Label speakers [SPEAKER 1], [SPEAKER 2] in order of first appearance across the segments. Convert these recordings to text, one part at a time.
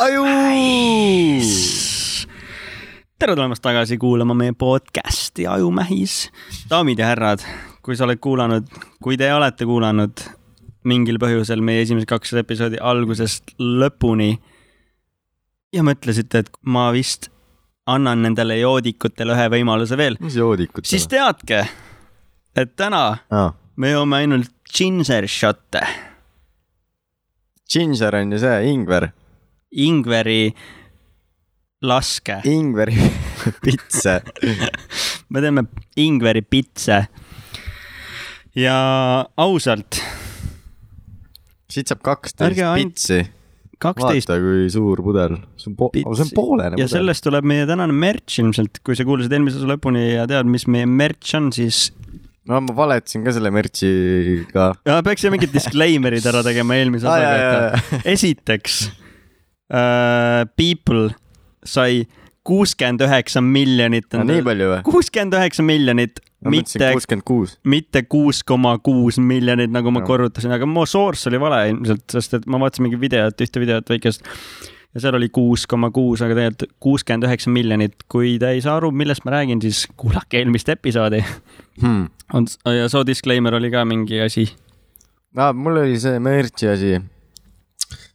[SPEAKER 1] aju .
[SPEAKER 2] tere tulemast tagasi kuulama meie podcast'i Ajumähis . daamid ja härrad , kui sa oled kuulanud , kui te olete kuulanud mingil põhjusel meie esimesed kaks episoodi algusest lõpuni ja mõtlesite , et ma vist annan nendele joodikutele ühe võimaluse veel ,
[SPEAKER 1] mis joodikud
[SPEAKER 2] siis teadke , et täna
[SPEAKER 1] ah, ?
[SPEAKER 2] me joome ainult ginger shot'e ,
[SPEAKER 1] Ginger on ju see ingver ,
[SPEAKER 2] ingveri laske ,
[SPEAKER 1] ingveri pitse .
[SPEAKER 2] me teeme ingveri pitse . ja ausalt ,
[SPEAKER 1] siit saab kaksteist
[SPEAKER 2] Ärge ainult-
[SPEAKER 1] pitsi .
[SPEAKER 2] kaksteist
[SPEAKER 1] vaata , kui suur pudel . see on po- ,
[SPEAKER 2] Pitsi.
[SPEAKER 1] see on poolene
[SPEAKER 2] ja
[SPEAKER 1] pudel .
[SPEAKER 2] sellest tuleb meie tänane merch ilmselt , kui sa kuulasid eelmise osa lõpuni ja tead , mis meie merch on , siis
[SPEAKER 1] no ma valetasin ka selle merch'iga .
[SPEAKER 2] ja, peaksime mingid disclaimer'id ära tegema eelmise
[SPEAKER 1] Aa, jaa,
[SPEAKER 2] osaga , et esiteks äh, People sai kuuskümmend üheksa miljonit ,
[SPEAKER 1] nii palju või ?
[SPEAKER 2] kuuskümmend üheksa miljonit ,
[SPEAKER 1] ma mõtlesin
[SPEAKER 2] mitte ,
[SPEAKER 1] kuuskümmend kuus .
[SPEAKER 2] mitte kuus koma kuus miljonit , nagu ma
[SPEAKER 1] Jah.
[SPEAKER 2] korrutasin , aga mu source oli vale ilmselt , sest et ma vaatasin mingit videot , ühte videot väikest ja seal oli kuus koma kuus , aga tegelikult kuuskümmend üheksa miljonit . kui te ei saa aru , millest ma räägin , siis kuulake eelmist episoodi .
[SPEAKER 1] Hmm.
[SPEAKER 2] on , ja soo disclaimer oli ka mingi asi .
[SPEAKER 1] aa , Ah, mul oli see merch'i asi .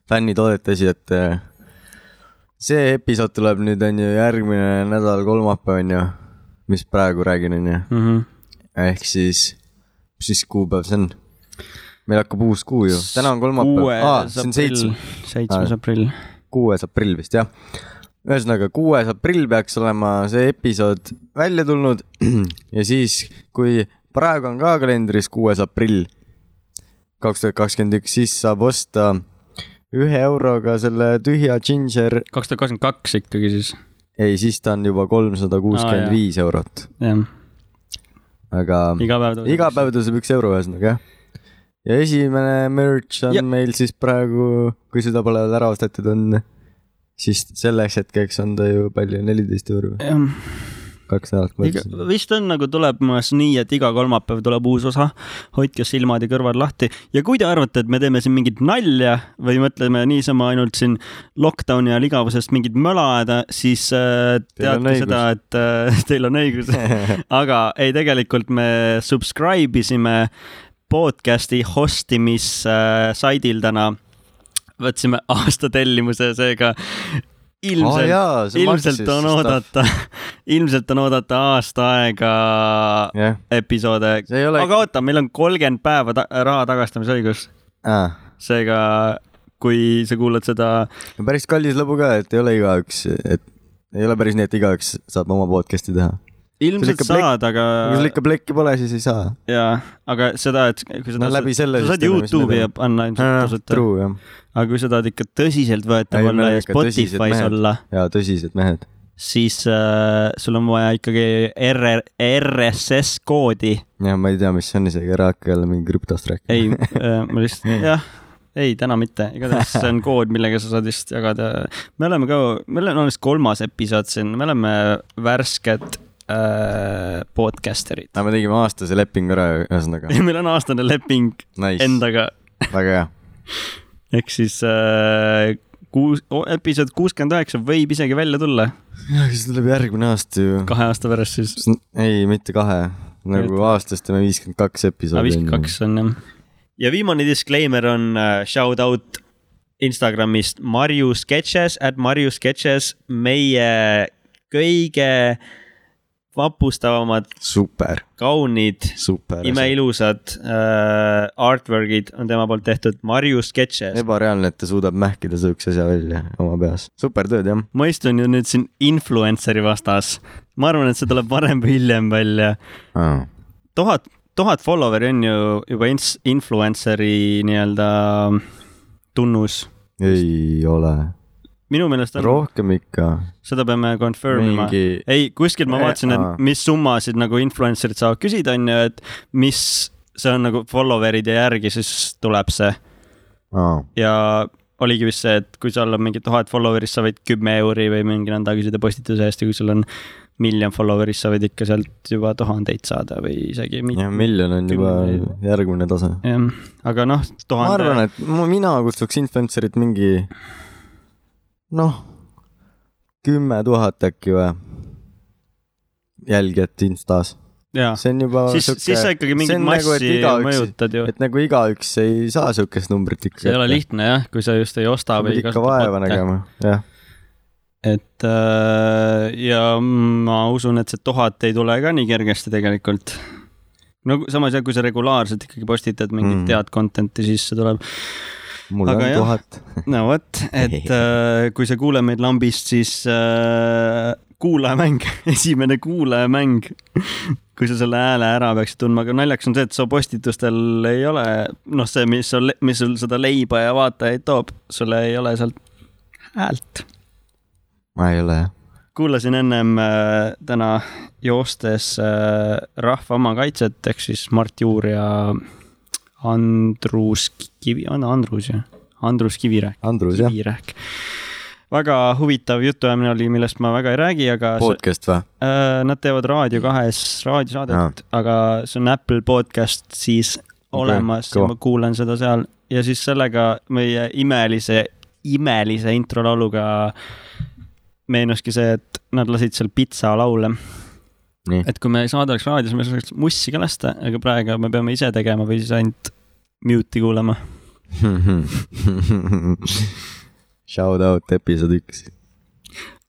[SPEAKER 1] fännid oodatasid , et äh, see episood tuleb nüüd onju järgmine nädal kolmapäev onju , mis praegu räägin onju ,
[SPEAKER 2] Mm -hmm.
[SPEAKER 1] ehk siis , mis siis kuupäev see on ? meil hakkab uus kuu ju , täna on kolmapäev , aa , see on seitsmes ,.
[SPEAKER 2] seitsmes
[SPEAKER 1] Aa.
[SPEAKER 2] aprill .
[SPEAKER 1] kuues aprill vist jah . ühesõnaga , kuues aprill peaks olema see episood välja tulnud ja siis , kui praegu on ka kalendris kuues aprill kaks tuhat kakskümmend üks , siis saab osta ühe euroga selle tühja ginger ,
[SPEAKER 2] kaks tuhat kakskümmend kaks ikkagi siis ,
[SPEAKER 1] ei , siis ta on juba kolmsada kuuskümmend viis eurot ,
[SPEAKER 2] jah ,
[SPEAKER 1] aga
[SPEAKER 2] iga päev .
[SPEAKER 1] iga päev tõuseb üks euro , ühesõnaga jah ja esimene merch on
[SPEAKER 2] Ja-
[SPEAKER 1] ja. meil siis praegu , kui seda pole veel ära ostetud , on siis selleks hetkeks on ta ju palju , neliteist euri või ?
[SPEAKER 2] päev .
[SPEAKER 1] kaks nädalat
[SPEAKER 2] iga
[SPEAKER 1] mõtlesin .,
[SPEAKER 2] vist on nagu tuleb mu meelest nii , et iga kolmapäev tuleb uus osa , hoidke silmad ja kõrvad lahti ja kui te arvate , et me teeme siin mingit nalja või mõtleme niisama ainult siin lockdown'i ajal igavusest mingit möla ajada , siis äh,
[SPEAKER 1] Teil on
[SPEAKER 2] teadke seda , et äh, teil on õigus . aga ei , tegelikult me subscribe isime podcast'i hostimis äh, saidil täna . võtsime aasta tellimuse , seega ilmselt ilmselt on . oodata , ilmselt on oodata aasta aega
[SPEAKER 1] jah ,
[SPEAKER 2] episoode ,
[SPEAKER 1] see ei ole
[SPEAKER 2] aga oota , meil on kolmkümmend päeva ta raha tagastamise õigus ,
[SPEAKER 1] ah, ,
[SPEAKER 2] seega kui sa kuulad seda ,
[SPEAKER 1] päris kallis lõbu ka , et ei ole igaüks , et ei ole päris nii , et igaüks saab oma podcast'i teha .
[SPEAKER 2] ilmselt
[SPEAKER 1] ikka plek-
[SPEAKER 2] saad , aga
[SPEAKER 1] kui sul ikka plekki pole , siis ei saa .
[SPEAKER 2] jaa , aga seda , et kui
[SPEAKER 1] no
[SPEAKER 2] seda
[SPEAKER 1] läbi selle .
[SPEAKER 2] sa saad Youtube'i panna ilmselt tasuta ,
[SPEAKER 1] True jah ,
[SPEAKER 2] aga kui sa tahad ikka tõsiseltvõetav
[SPEAKER 1] Ei, me
[SPEAKER 2] olla
[SPEAKER 1] oleme
[SPEAKER 2] ja
[SPEAKER 1] ikka tõsised
[SPEAKER 2] Spotify's
[SPEAKER 1] mehed.
[SPEAKER 2] olla ,
[SPEAKER 1] ja tõsised mehed .
[SPEAKER 2] siis äh, sul on vaja ikkagi RR , RSS koodi
[SPEAKER 1] ja ma ei tea , mis see on isegi , ära hakka jälle mingi krüptost rääkima .
[SPEAKER 2] ei , ma lihtsalt , jah , ei täna mitte , igatahes see on kood , millega sa saad vist jagada . me oleme ka , meil on alles kolmas episood siin , me oleme värsked äh, podcaster'id .
[SPEAKER 1] aga me tegime aastase lepingu ära , ühesõnaga .
[SPEAKER 2] meil on aastane leping
[SPEAKER 1] Nice ,
[SPEAKER 2] endaga ,
[SPEAKER 1] väga hea .
[SPEAKER 2] ehk siis äh, kuus , episood kuuskümmend üheksa võib isegi välja tulla
[SPEAKER 1] jah , siis tuleb järgmine aasta ju .
[SPEAKER 2] kahe aasta pärast siis .
[SPEAKER 1] ei , mitte kahe , nagu aastas teeme viiskümmend kaks episoodi .
[SPEAKER 2] viiskümmend . kaks on jah . ja viimane disclaimer on äh, shout out Instagramist Marju Sketches , at Marju Sketches , meie kõige vapustavamad ,
[SPEAKER 1] super ,
[SPEAKER 2] kaunid ,
[SPEAKER 1] super .
[SPEAKER 2] imeilusad äh, artwork'id on tema poolt tehtud , Marju Sketches .
[SPEAKER 1] ebareaalne , et ta suudab mähkida siukse asja välja oma peas . super tööd jah .
[SPEAKER 2] ma istun ju nüüd siin influencer'i vastas . ma arvan , et see tuleb varem või hiljem välja . tuhat , tuhat follower'i on ju juba ins- , influencer'i nii-öelda tunnus .
[SPEAKER 1] ei ole ,
[SPEAKER 2] minu meelest on
[SPEAKER 1] rohkem ikka .
[SPEAKER 2] seda peame confirm ima .
[SPEAKER 1] mingi ,
[SPEAKER 2] ei , kuskil ma
[SPEAKER 1] Eh,
[SPEAKER 2] vaatasin ,
[SPEAKER 1] aa.
[SPEAKER 2] et mis summasid nagu influencer'id saavad küsida , on ju , et mis , see on nagu follower'ide järgi , siis tuleb see ja oligi vist see , et kui sul on mingi tuhat follower'ist , sa võid kümme euri või mingi nõnda küsida postituse eest ja kui sul on miljon follower'ist , sa võid ikka sealt juba tuhandeid saada või isegi
[SPEAKER 1] jah , miljon on juba
[SPEAKER 2] Kümne-
[SPEAKER 1] järgmine tase .
[SPEAKER 2] jah , aga noh ,
[SPEAKER 1] ma
[SPEAKER 2] tuhande ,
[SPEAKER 1] arvan , et mu- mina kutsuks influencer'it mingi noh , kümme tuhat äkki või jälgijat Instas .
[SPEAKER 2] jaa ,
[SPEAKER 1] see on juba
[SPEAKER 2] Noh. siis , siis sa ikkagi mingit
[SPEAKER 1] nagu,
[SPEAKER 2] massi mõjutad ju .
[SPEAKER 1] et nagu igaüks ei saa siukest numbrit ikka .
[SPEAKER 2] see ei ole lihtne jah , kui sa just ei osta
[SPEAKER 1] peab
[SPEAKER 2] või ei
[SPEAKER 1] ikka vaeva nagu
[SPEAKER 2] kasuta
[SPEAKER 1] nägema , jah .
[SPEAKER 2] et äh, ja ma usun , et see tuhat ei tule ka nii kergesti tegelikult . no samas jah , kui sa regulaarselt ikkagi postitad mingit
[SPEAKER 1] Mm.
[SPEAKER 2] mm. head content'i , siis see tuleb .
[SPEAKER 1] mul
[SPEAKER 2] Aga
[SPEAKER 1] on
[SPEAKER 2] jah.
[SPEAKER 1] tuhat .
[SPEAKER 2] no vot , et äh, kui sa kuuled meid lambist , siis äh, kuulajamäng , esimene kuulajamäng . kui sa selle hääle ära peaksid tundma , aga naljakas on see , et su postitustel ei ole , noh , see , mis sul , mis sul seda leiba ja vaatajaid toob , sul ei ole sealt häält .
[SPEAKER 1] ma ei ole jah .
[SPEAKER 2] kuulasin ennem äh, täna joostes äh, Rahva Oma Kaitset ehk siis Mart Juur ja Andrus Kivi , on Andrus jah , Andrus Kivirähk ,
[SPEAKER 1] Andrus jah ,
[SPEAKER 2] Kivirähk . väga huvitav jutuajamine oli , millest ma väga ei räägi , aga see,
[SPEAKER 1] podcast või ?
[SPEAKER 2] äh, nad teevad Raadio kahes raadiosaadet , aga see on Apple podcast siis olemas okay,
[SPEAKER 1] kõva.
[SPEAKER 2] ja ma kuulan seda seal ja siis sellega meie imelise , imelise introlauluga meenuski see , et nad lasid seal pitsa laule .
[SPEAKER 1] Nii.
[SPEAKER 2] et kui me saade oleks raadios , me saaks mussi ka lasta , aga praegu me peame ise tegema või siis ainult mute'i kuulama .
[SPEAKER 1] Shout out episood üks .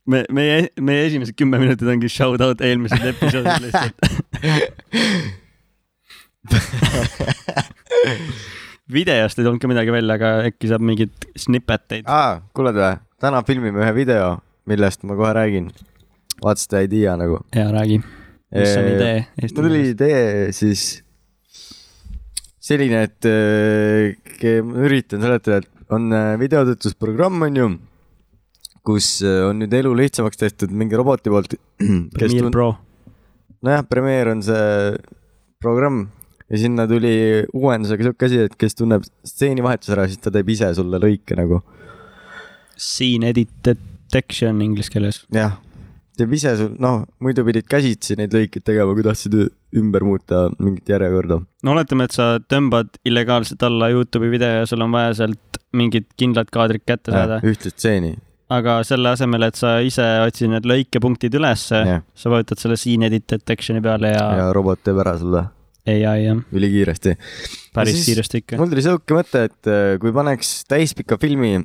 [SPEAKER 2] me , meie , meie esimesed kümme minutit ongi shout out eelmised episoodid lihtsalt . videost ei tulnud ka midagi välja , aga äkki saab mingeid snippeteid .
[SPEAKER 1] aa , kuuled või ? täna filmime ühe video , millest ma kohe räägin . What's the idea nagu ?
[SPEAKER 2] ja räägi , mis on idee
[SPEAKER 1] mul
[SPEAKER 2] eesti
[SPEAKER 1] tuli
[SPEAKER 2] keeles ?
[SPEAKER 1] idee siis selline , et äh, ke- ma üritan seletada , et on äh, videotöötlusprogramm , on ju , kus äh, on nüüd elu lihtsamaks tehtud mingi roboti poolt , kes
[SPEAKER 2] Premiere
[SPEAKER 1] tund- ,
[SPEAKER 2] Pro .
[SPEAKER 1] nojah , Premiere on see programm ja sinna tuli uuendusega siuke asi , et kes tunneb stseenivahetuse ära , siis ta teeb ise sulle lõike nagu ,
[SPEAKER 2] Scene edit detection inglise keeles .
[SPEAKER 1] jah , teeb ise sul , noh , muidu pidid käsitsi neid lõikeid tegema , kui tahtsid ü- ümber muuta mingit järjekorda .
[SPEAKER 2] no oletame , et sa tõmbad illegaalselt alla Youtube'i video ja sul on vaja sealt mingid kindlad kaadrid kätte saada ,
[SPEAKER 1] ühte stseeni ,
[SPEAKER 2] aga selle asemel , et sa ise otsid need lõikepunktid ülesse ,
[SPEAKER 1] jah .
[SPEAKER 2] sa vajutad selle scene edit detection'i peale ja,
[SPEAKER 1] ja robot teeb ära sulle
[SPEAKER 2] ja. ai jah ,
[SPEAKER 1] ülikiiresti .
[SPEAKER 2] päris
[SPEAKER 1] Ja siis-
[SPEAKER 2] siis... kiiresti ikka .
[SPEAKER 1] mul tuli sihuke mõte , et äh, kui paneks täispika filmi ,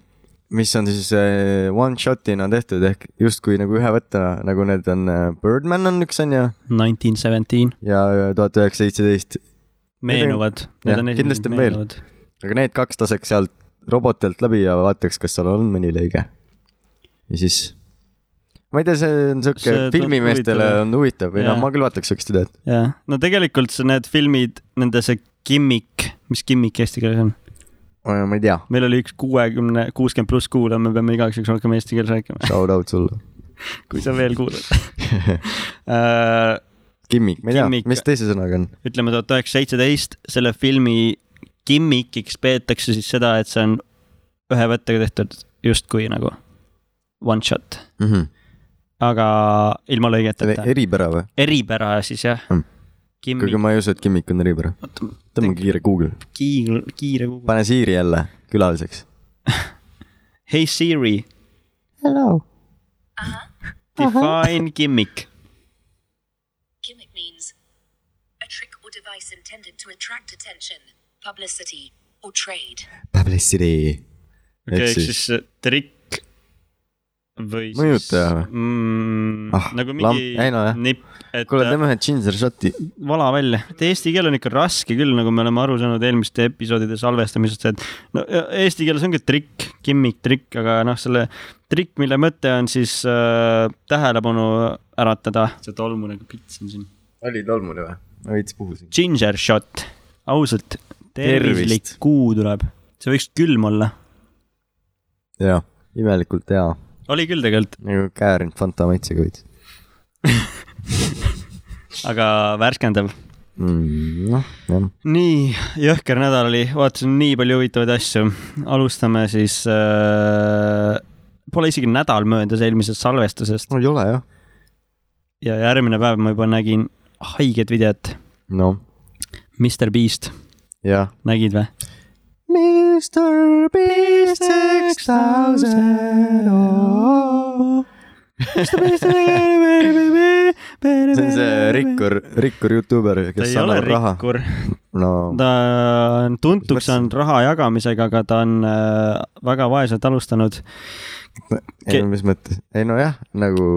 [SPEAKER 1] mis on siis äh, one shot'ina tehtud ehk justkui nagu ühe võttena , nagu need on äh, Birdman on üks onju
[SPEAKER 2] Nineteen seventeen ,
[SPEAKER 1] ja tuhat üheksasada seitseteist , Need on-
[SPEAKER 2] meenuvad .
[SPEAKER 1] jah, kindlasti on veel. . aga need kaks laseks sealt robotelt läbi ja vaataks , kas seal on mõni lõige . ja siis , ma ei tea , see on sihuke
[SPEAKER 2] See tundub
[SPEAKER 1] filmimeestele
[SPEAKER 2] huvitav, jah.
[SPEAKER 1] on huvitav või noh ,
[SPEAKER 2] Jaa.
[SPEAKER 1] ma küll vaataks siukest ideed .
[SPEAKER 2] jah , no tegelikult see , need filmid , nende see gimmick , mis gimmick eesti keeles on ?
[SPEAKER 1] ma ei tea ,
[SPEAKER 2] meil oli üks kuuekümne , kuuskümmend pluss kuulaja , me peame igaks juhuks rohkem eesti keeles rääkima ,
[SPEAKER 1] shout out sulle .
[SPEAKER 2] kui sa veel kuulad uh, .
[SPEAKER 1] Gimmick , ma ei tea
[SPEAKER 2] Gimmick. ,
[SPEAKER 1] mis teise sõnaga on ?
[SPEAKER 2] ütleme tuhat üheksasada seitseteist , selle filmi gimmickiks peetakse siis seda , et see on ühe võttega tehtud justkui nagu one shot ,
[SPEAKER 1] Mm -hmm.
[SPEAKER 2] aga ilma lõigeteta .
[SPEAKER 1] eripära või ?
[SPEAKER 2] eripära siis jah
[SPEAKER 1] Mm. . kuigi
[SPEAKER 2] gimmick ,
[SPEAKER 1] ma ei usu , et gimmick on eripära . tõmbame kiire Google ,
[SPEAKER 2] kiire , kiire .
[SPEAKER 1] pane Siiri jälle külaliseks .
[SPEAKER 2] Hey Siri ,
[SPEAKER 1] Hello .
[SPEAKER 2] define gimmick .
[SPEAKER 3] Gimmick means a trick or device intended to attract attention, publicity, or trade.
[SPEAKER 1] Publicity .
[SPEAKER 2] okei ,
[SPEAKER 1] Ehk
[SPEAKER 2] ehk
[SPEAKER 1] siis-
[SPEAKER 2] siis see trikk või
[SPEAKER 1] Mõjutaja või?
[SPEAKER 2] siis mm,
[SPEAKER 1] Ah,
[SPEAKER 2] ah, nagu
[SPEAKER 1] lamp-
[SPEAKER 2] mingi
[SPEAKER 1] ei no jah.
[SPEAKER 2] nipp , et
[SPEAKER 1] kuule ,
[SPEAKER 2] Kule,
[SPEAKER 1] teeme ühe ginger shot'i .
[SPEAKER 2] vala välja . Eesti keel on ikka raske küll , nagu me oleme aru saanud eelmiste episoodide salvestamisest , et no ja eesti keeles ongi trikk , gimmick , trikk , aga noh , selle trikk , mille mõte on siis äh, tähelepanu äratada . see tolmu nagu pits on siin .
[SPEAKER 1] oli tolmune või ? ma veits puhusin .
[SPEAKER 2] Ginger shot , ausalt ,
[SPEAKER 1] Tervist.
[SPEAKER 2] tervislik kuu tuleb , see võiks külm olla .
[SPEAKER 1] jaa , imelikult hea ,
[SPEAKER 2] oli küll tegelikult ,
[SPEAKER 1] nagu käärinud Fanta maitsega veits
[SPEAKER 2] aga värskendav
[SPEAKER 1] mm, . noh , jah .
[SPEAKER 2] nii , jõhker nädal oli , vaatasin nii palju huvitavaid asju . alustame siis äh, , pole isegi nädal möödas eelmisest salvestusest
[SPEAKER 1] no ei ole jah .
[SPEAKER 2] ja järgmine päev ma juba nägin haiget videot .
[SPEAKER 1] noh ,
[SPEAKER 2] Mr Beast ,
[SPEAKER 1] jah .
[SPEAKER 2] nägid või ?
[SPEAKER 1] Mr Beast six thousand . see on see rikkur , rikkur Youtuber ,
[SPEAKER 2] ta
[SPEAKER 1] kes
[SPEAKER 2] ei ole
[SPEAKER 1] annab raha .
[SPEAKER 2] rikkur ,
[SPEAKER 1] no
[SPEAKER 2] ta on tuntuks
[SPEAKER 1] Mis-
[SPEAKER 2] saanud raha jagamisega , aga ta on äh, väga vaeselt alustanud .
[SPEAKER 1] ei no mis mõttes , ei nojah , nagu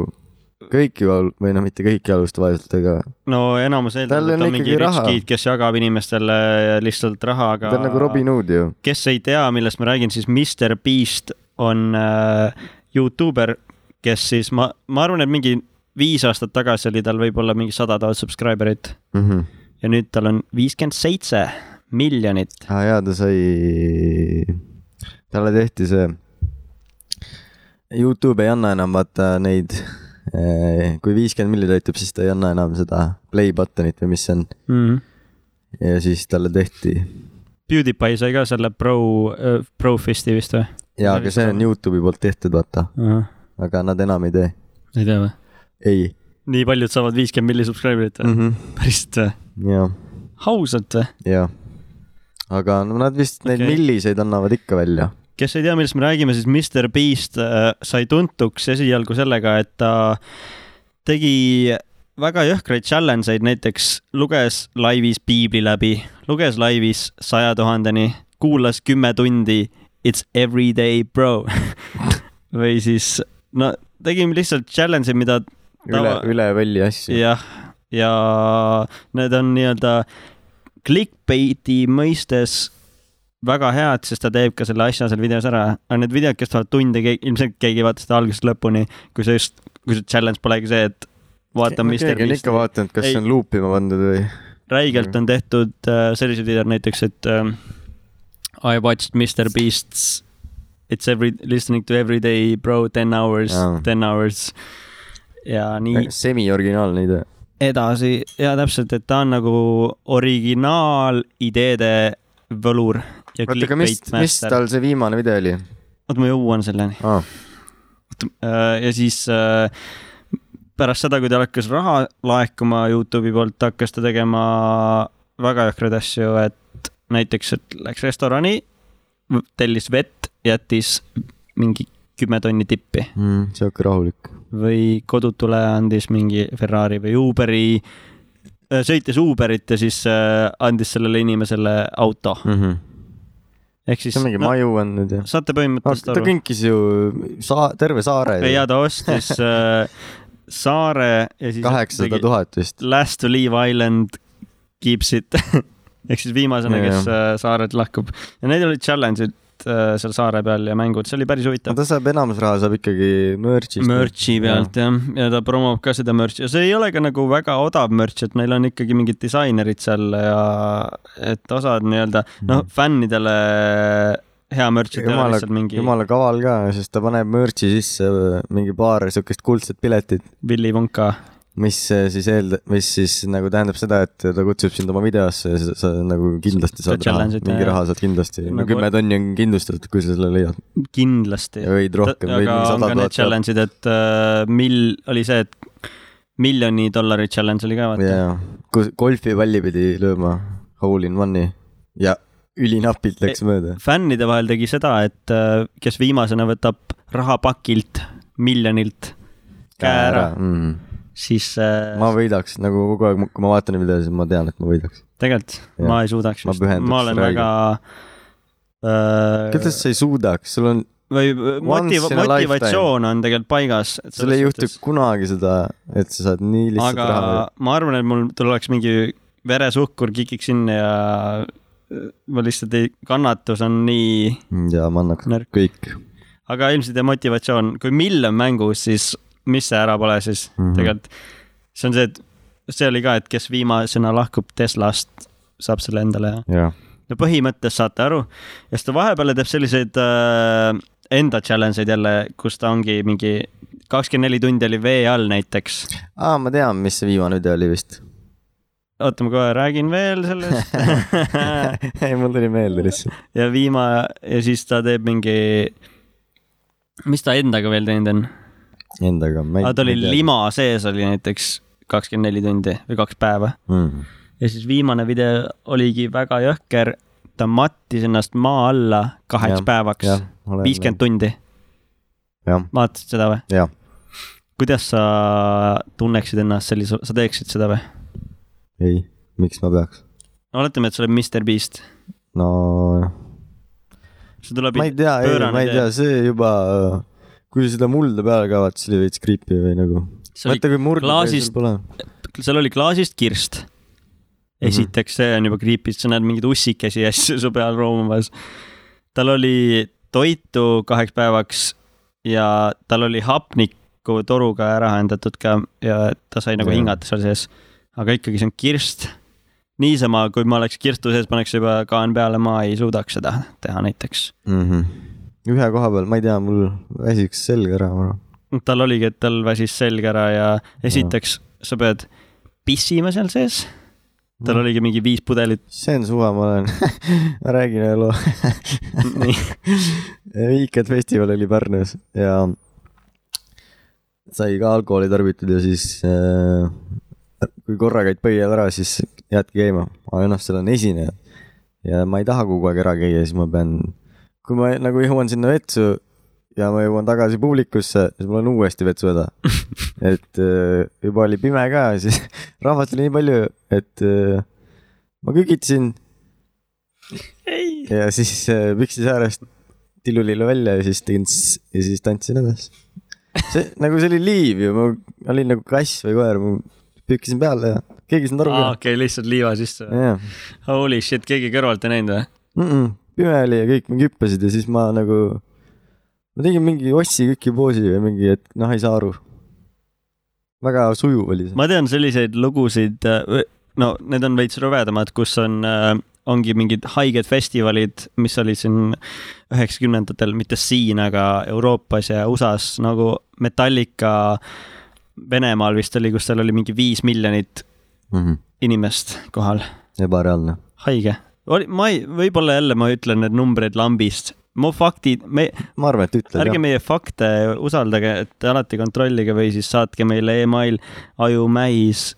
[SPEAKER 1] kõik ju al- või no mitte kõik ei alusta vaeselt , aga
[SPEAKER 2] no enamus eeldab ,
[SPEAKER 1] Tal
[SPEAKER 2] et ta
[SPEAKER 1] on
[SPEAKER 2] on mingi
[SPEAKER 1] ikkagi raha.
[SPEAKER 2] ritskiid , kes jagab inimestele lihtsalt raha , aga
[SPEAKER 1] ta on nagu Robin Hood ju .
[SPEAKER 2] kes ei tea , millest ma räägin , siis Mr Beast on äh, Youtuber , kes siis ma , ma arvan , et mingi viis aastat tagasi oli tal võib-olla mingi sada tuhat subscriber'it
[SPEAKER 1] Mhm.
[SPEAKER 2] ja nüüd tal on viiskümmend seitse miljonit .
[SPEAKER 1] aa Ah, jaa , ta sai , talle tehti see , Youtube ei anna enam vaata neid , kui viiskümmend milli täitub , siis ta ei anna enam seda play button'it või mis see on .
[SPEAKER 2] Mm -hmm.
[SPEAKER 1] ja siis talle tehti ,
[SPEAKER 2] PewDiePie sai ka selle pro , pro fist'i vist või
[SPEAKER 1] jaa , aga see on Youtube'i poolt tehtud , vaata ,
[SPEAKER 2] uh ? -huh.
[SPEAKER 1] aga nad enam ei tee ,
[SPEAKER 2] ei tea või ?
[SPEAKER 1] ei
[SPEAKER 2] nii paljud saavad viiskümmend milli subscriber'it või mm
[SPEAKER 1] mm .
[SPEAKER 2] -hmm. ? päriselt või ?
[SPEAKER 1] -hmm. jaa ,
[SPEAKER 2] ausalt või ?
[SPEAKER 1] jaa . aga no nad vist okay. neid
[SPEAKER 2] Okei.
[SPEAKER 1] milliseid annavad ikka välja .
[SPEAKER 2] kes ei tea , millest me räägime , siis Mr Beast äh, sai tuntuks esialgu sellega , et ta tegi väga jõhkraid challenge eid , näiteks luges laivis piibli läbi , luges laivis saja tuhandeni , kuulas kümme tundi It's everyday bro või siis no tegime lihtsalt challenge'id , mida
[SPEAKER 1] üle
[SPEAKER 2] Tava- ,
[SPEAKER 1] üle välja asju .
[SPEAKER 2] jah , ja need on nii-öelda clickbait'i mõistes väga head , sest ta teeb ka selle asja seal videos ära , aga need videod kestavad tunde , ilmselt keegi ei vaata seda algusest lõpuni , kui sa just , kui see challenge polegi see , et vaata , mis
[SPEAKER 1] keegi on
[SPEAKER 2] teeb .
[SPEAKER 1] ikka vaadanud , kas
[SPEAKER 2] Ei.
[SPEAKER 1] see on luupima pandud või ? Mm.
[SPEAKER 2] räigelt on tehtud äh, sellised videod näiteks , et ähm, I watched Mr Beast's It's every , listening to every day bro ten hours
[SPEAKER 1] Aa. ,
[SPEAKER 2] ten hours ja nii
[SPEAKER 1] Äh, semi-originaalne idee .
[SPEAKER 2] edasi ja täpselt , et ta on nagu originaalideede võlur ja
[SPEAKER 1] oota , aga mis ,
[SPEAKER 2] clickbait
[SPEAKER 1] mis
[SPEAKER 2] master .
[SPEAKER 1] tal see viimane video oli
[SPEAKER 2] oot , ma jõuan selleni .
[SPEAKER 1] ah, ?
[SPEAKER 2] ja siis äh, pärast seda , kui tal hakkas raha laekuma Youtube'i poolt , hakkas ta tegema väga jõhkraid asju , et näiteks , et läks restorani , tellis vett , jättis mingi kümme tonni tippi
[SPEAKER 1] Mm, sihuke rahulik .
[SPEAKER 2] või kodutule andis mingi Ferrari või Uberi , sõitis Uberit ja siis äh, andis sellele inimesele auto .
[SPEAKER 1] mm . -hmm.
[SPEAKER 2] ehk siis
[SPEAKER 1] see on mingi no. maju on nüüd ja .
[SPEAKER 2] saate põhimõtteliselt
[SPEAKER 1] ta
[SPEAKER 2] aru .
[SPEAKER 1] kinkis ju saa- , terve saare ju.
[SPEAKER 2] ja ta ostis äh, saare ja siis
[SPEAKER 1] kaheksasada
[SPEAKER 2] tegi
[SPEAKER 1] tuhat vist .
[SPEAKER 2] Last to leave island kiipsit ehk siis viimasena ,
[SPEAKER 1] Ja,
[SPEAKER 2] kes äh, saarelt lahkub ja need olid challenge'id äh, seal saare peal ja mängud , see oli päris huvitav .
[SPEAKER 1] ta saab , enamus raha saab ikkagi merch'ist .
[SPEAKER 2] Merch'i pealt jah , ja ta promob ka seda merch'i ja see ei ole ka nagu väga odav merch , et neil on ikkagi mingid disainerid seal ja et osad nii-öelda noh , fännidele hea merch , et ei ole
[SPEAKER 1] Mm. jumala
[SPEAKER 2] lihtsalt , mingi
[SPEAKER 1] jumala kaval ka , sest ta paneb merch'i sisse mingi paar siukest kuldset piletit ,
[SPEAKER 2] Willy Wonka .
[SPEAKER 1] mis siis eelda- , mis siis nagu tähendab seda , et ta kutsub sind oma videosse ja sa, sa nagu kindlasti
[SPEAKER 2] Sa
[SPEAKER 1] saad raha ,
[SPEAKER 2] challenge'id,
[SPEAKER 1] mingi
[SPEAKER 2] jah.
[SPEAKER 1] raha saad kindlasti
[SPEAKER 2] Nagu-
[SPEAKER 1] nagu... , kümme tonni on kindlustatud , kui sa selle leiad ,
[SPEAKER 2] kindlasti .
[SPEAKER 1] võid rohkem , võid
[SPEAKER 2] aga
[SPEAKER 1] mingi
[SPEAKER 2] on
[SPEAKER 1] sada
[SPEAKER 2] ka need
[SPEAKER 1] tuhat saada .
[SPEAKER 2] challenge'id , et äh, mil- , oli see , et miljoni dollari challenge oli ka vaata yeah. .
[SPEAKER 1] jaa , kus golfipalli pidi lööma hole in one'i ja ülinapilt
[SPEAKER 2] E-
[SPEAKER 1] läks mööda .
[SPEAKER 2] fännide vahel tegi seda , et äh, kes viimasena võtab rahapakilt miljonilt käe ära ,
[SPEAKER 1] mm. .
[SPEAKER 2] siis äh,
[SPEAKER 1] ma võidaks nagu kogu aeg , kui ma vaatan neid videosid , ma tean , et ma võidaks .
[SPEAKER 2] tegelikult
[SPEAKER 1] Jah.
[SPEAKER 2] ma ei suudaks
[SPEAKER 1] Ma
[SPEAKER 2] vist ,
[SPEAKER 1] pühenduks
[SPEAKER 2] ma olen väga
[SPEAKER 1] kuidas
[SPEAKER 2] äh,
[SPEAKER 1] sa ei suudaks , sul on
[SPEAKER 2] või
[SPEAKER 1] Once
[SPEAKER 2] motiv-
[SPEAKER 1] in a ,
[SPEAKER 2] motivatsioon on tegelikult paigas .
[SPEAKER 1] sul ei juhtu kunagi seda , et sa saad nii lihtsalt
[SPEAKER 2] aga
[SPEAKER 1] aga... raha .
[SPEAKER 2] ma arvan , et mul tuleks mingi veresuhkur kikiks sinna ja äh, ma lihtsalt ei , kannatus on nii ,
[SPEAKER 1] ja ma annaks
[SPEAKER 2] Närk.
[SPEAKER 1] Närk. kõik .
[SPEAKER 2] aga ilmselt ja motivatsioon , kui mill on mängus , siis mis see ära pole siis mm -hmm.
[SPEAKER 1] Mhm.
[SPEAKER 2] tegelikult . see on see , et see oli ka , et kes viimasena lahkub Teslast , saab selle endale ja
[SPEAKER 1] jah ,
[SPEAKER 2] no põhimõttest saate aru . ja siis ta vahepeal teeb selliseid äh, enda challenge eid jälle , kus ta ongi mingi kakskümmend neli tundi oli vee all näiteks .
[SPEAKER 1] aa , ma tean , mis see viimane video oli vist .
[SPEAKER 2] oota , ma kohe räägin veel sellest
[SPEAKER 1] ei , mul tuli meelde lihtsalt .
[SPEAKER 2] ja viima- ja siis ta teeb mingi , mis ta endaga veel teinud on ?
[SPEAKER 1] Endaga .
[SPEAKER 2] ta oli . lima sees oli näiteks kakskümmend neli tundi või kaks päeva
[SPEAKER 1] Mm.
[SPEAKER 2] ja siis viimane video oligi väga jõhker , ta mattis ennast maa alla kaheks
[SPEAKER 1] Jah,
[SPEAKER 2] päevaks , viiskümmend . tundi .
[SPEAKER 1] jah ,
[SPEAKER 2] vaatasid seda või ?
[SPEAKER 1] jah .
[SPEAKER 2] kuidas sa tunneksid ennast sellise , sa teeksid seda või ?
[SPEAKER 1] ei , miks ma peaks ?
[SPEAKER 2] no oletame , et sa oled Mr Beast ,
[SPEAKER 1] no
[SPEAKER 2] sul tuleb
[SPEAKER 1] ma ei tea , ei ,
[SPEAKER 2] pöörane
[SPEAKER 1] ma ei
[SPEAKER 2] tee.
[SPEAKER 1] tea , see juba , kui seda mulda peale kaevata , siis oli veits creepy või nagu .
[SPEAKER 2] See oli
[SPEAKER 1] mõtle , kui murd .
[SPEAKER 2] klaasist-
[SPEAKER 1] pole .
[SPEAKER 2] seal oli klaasist kirst . esiteks , see on juba creepy , sest sa näed mingeid ussikesi ja asju su peal roomamas . tal oli toitu kaheks päevaks ja tal oli hapnikku toruga ära ühendatud ka ja ta sai nagu
[SPEAKER 1] Jah.
[SPEAKER 2] hingata seal sees . aga ikkagi see on kirst . niisama , kui ma oleks kirstu sees , paneks juba kaan peale , ma ei suudaks seda teha näiteks .
[SPEAKER 1] Mhm. ühe koha peal , ma ei tea , mul väsiks selg ära , ma arvan .
[SPEAKER 2] tal oligi , et tal väsis selg ära ja esiteks sa pead pissima seal sees . tal oligi mingi viis pudelit .
[SPEAKER 1] see on suva , ma olen , ma räägin ühe loo .
[SPEAKER 2] nii ,
[SPEAKER 1] Weekend festival oli Pärnus ja sai ka alkoholi tarbitud ja siis äh, kui korra käid põial ära , siis jäädki käima , aga noh , seal on esineja ja ma ei taha kogu aeg ära käia , siis ma pean , kui ma nagu jõuan sinna vetsu ja ma jõuan tagasi publikusse , siis mul on uuesti vetsu häda . et äh, juba oli pime ka , siis rahvast oli nii palju , et äh, ma kükitasin ja siis äh, püksi säärest tillulillu välja ja siis tegin tss ja siis tantsin edasi . see nagu see oli liiv ju , ma olin nagu kass või koer , ma pükisin peale ja keegi ei saanud aru ka .
[SPEAKER 2] okei , lihtsalt liiva sisse .
[SPEAKER 1] jah ,
[SPEAKER 2] Holy shit , keegi kõrvalt ei näinud või ?
[SPEAKER 1] pime oli ja kõik mingi hüppasid ja siis ma nagu , ma tegin mingi ossi kõiki poosi või mingi , et noh , ei saa aru . väga sujuv oli see .
[SPEAKER 2] ma tean selliseid lugusid , no need on veits rõvedamad , kus on , ongi mingid haiged festivalid , mis olid siin üheksakümnendatel , mitte siin , aga Euroopas ja USA-s nagu Metallica Venemaal vist oli , kus seal oli mingi viis miljonit
[SPEAKER 1] Mm -hmm.
[SPEAKER 2] inimest kohal ,
[SPEAKER 1] ebareaalne .
[SPEAKER 2] haige . oli , ma ei , võib-olla jälle ma ütlen need numbreid lambist , mu faktid , me ,
[SPEAKER 1] ma arvan , et ütled
[SPEAKER 2] ärge
[SPEAKER 1] jah .
[SPEAKER 2] meie fakte usaldage , et alati kontrollige või siis saatke meile email ajumähis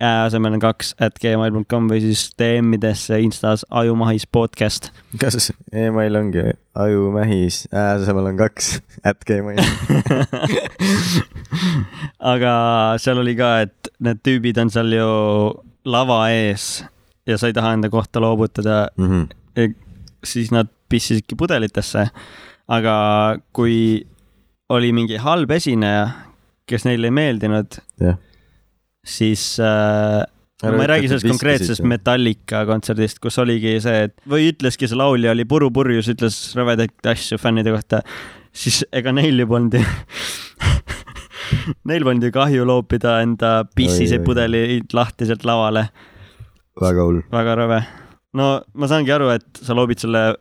[SPEAKER 2] ää asemel on kaks at gmail.com või siis DM-idesse Instas ajumahis podcast .
[SPEAKER 1] kas email ongi ajumähis , asemel on kaks , at gmail .
[SPEAKER 2] aga seal oli ka , et need tüübid on seal ju lava ees ja sa ei taha enda kohta loobutada
[SPEAKER 1] Mhm.
[SPEAKER 2] Ja siis nad pissisidki pudelitesse . aga kui oli mingi halb esineja , kes neile ei meeldinud
[SPEAKER 1] Jah. ,
[SPEAKER 2] siis äh, no ma ei räägi sellest konkreetsest Metallica kontserdist , kus oligi see , et või ütleski see laulja oli purupurjus , ütles rõvedaid asju fännide kohta , siis ega neil ju polnud ju Neil polnud ju kahju loopida enda pissiseid
[SPEAKER 1] oi.
[SPEAKER 2] pudeleid lahti sealt lavale .
[SPEAKER 1] väga hull .
[SPEAKER 2] väga rõve . no ma saangi aru , et sa loobid selle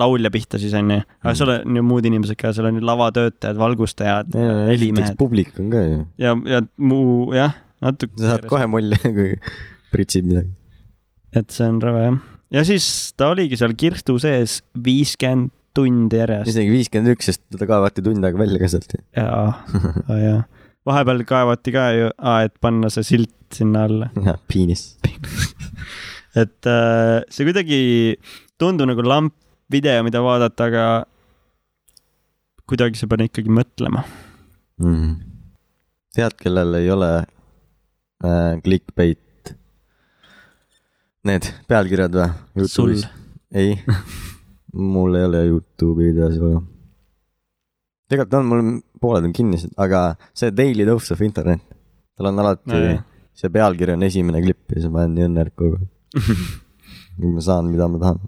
[SPEAKER 2] laulja pihta siis onju ,
[SPEAKER 1] Mm.
[SPEAKER 2] aga seal on ju muud inimesed ka , seal on ju lavatöötajad , valgustajad ,
[SPEAKER 1] esiteks
[SPEAKER 2] helimehed
[SPEAKER 1] publik on ka ju .
[SPEAKER 2] ja , ja muu jah ,
[SPEAKER 1] sa saad
[SPEAKER 2] natuke ,
[SPEAKER 1] kohe mulje , kui pritsid midagi .
[SPEAKER 2] et see on rõve jah . ja siis ta oligi seal kirstu sees viiskümmend tundi järjest
[SPEAKER 1] isegi viiskümmend üks , sest teda kaevati tund aega välja ka sealt .
[SPEAKER 2] ja , ja vahepeal kaevati ka ju , et panna see silt sinna alla .
[SPEAKER 1] piinis .
[SPEAKER 2] et äh, see kuidagi tundub nagu lamp video , mida vaadata , aga kuidagi sa pead ikkagi mõtlema .
[SPEAKER 1] Mm-hmm. tead , kellel ei ole äh, clickbait ? Need pealkirjad või ?
[SPEAKER 2] sul ,.
[SPEAKER 1] ei , mul ei ole Youtube'i videosi vaja . tegelikult on , mul pooled on kinnised , aga see Daily Dose of Internet , tal on alati no,
[SPEAKER 2] nojah ,
[SPEAKER 1] see pealkiri on esimene klipp ja siis ma olen nii õnnelik kogu aeg . ma saan , mida ma tahan .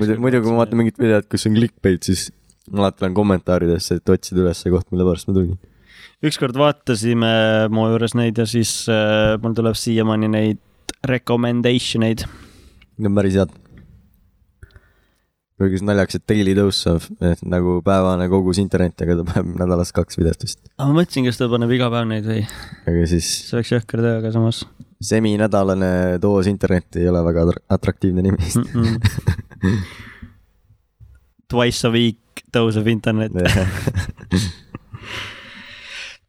[SPEAKER 1] muidu , muidu kui ma vaatan mingit videot , kus on clickbait , siis ma alati lähen kommentaaridesse , et otsida üles see koht , mille pärast ma tulin .
[SPEAKER 2] ükskord vaatasime mu juures neid ja siis äh, mul tuleb siiamaani neid recommendation eid .
[SPEAKER 1] Need on päris head . kuigi see on naljakas , et daily dose of , et nagu päevane kogus internetti , aga ta paneb nädalas kaks videot vist .
[SPEAKER 2] ma mõtlesin , kas ta paneb iga päev neid või ,
[SPEAKER 1] aga siis
[SPEAKER 2] see oleks jõhker töö , aga samas
[SPEAKER 1] seminädalane doos internetti ei ole väga atr- atraktiivne nimi vist .
[SPEAKER 2] mm . -mm. Twice a week dose of internet .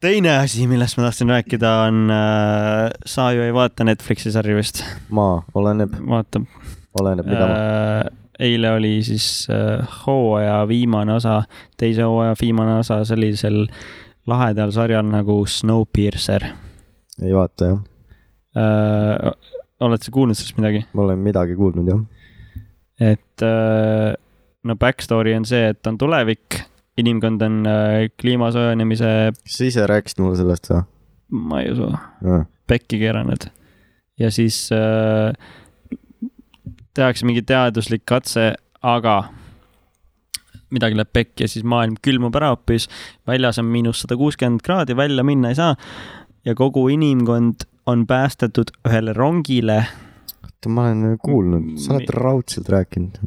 [SPEAKER 2] teine asi , millest ma tahtsin rääkida , on äh, , sa ju ei vaata Netflixi sari vist ?
[SPEAKER 1] maa oleneb ,
[SPEAKER 2] vaatab ,
[SPEAKER 1] oleneb , mida ma .
[SPEAKER 2] äh, . eile oli siis äh, hooaja viimane osa , teise hooaja viimane osa sellisel lahedal sarjal nagu Snowpiercer
[SPEAKER 1] ei vaata jah ,
[SPEAKER 2] äh, . oled sa kuulnud sellest midagi ?
[SPEAKER 1] ma olen midagi kuulnud jah .
[SPEAKER 2] et äh, no back story on see , et on tulevik , inimkond on äh, kliima soojenemise ,
[SPEAKER 1] kas sa ise rääkisid mulle sellest või ?
[SPEAKER 2] ma ei usu , pekki keeranud . ja siis äh, tehakse mingi teaduslik katse , aga midagi läheb pekki ja siis maailm külmub ära hoopis , väljas on miinus sada kuuskümmend kraadi , välja minna ei saa ja kogu inimkond on päästetud ühele rongile ,
[SPEAKER 1] oota , ma olen äh, kuulnud , sa oled
[SPEAKER 2] Mi-
[SPEAKER 1] raudselt rääkinud .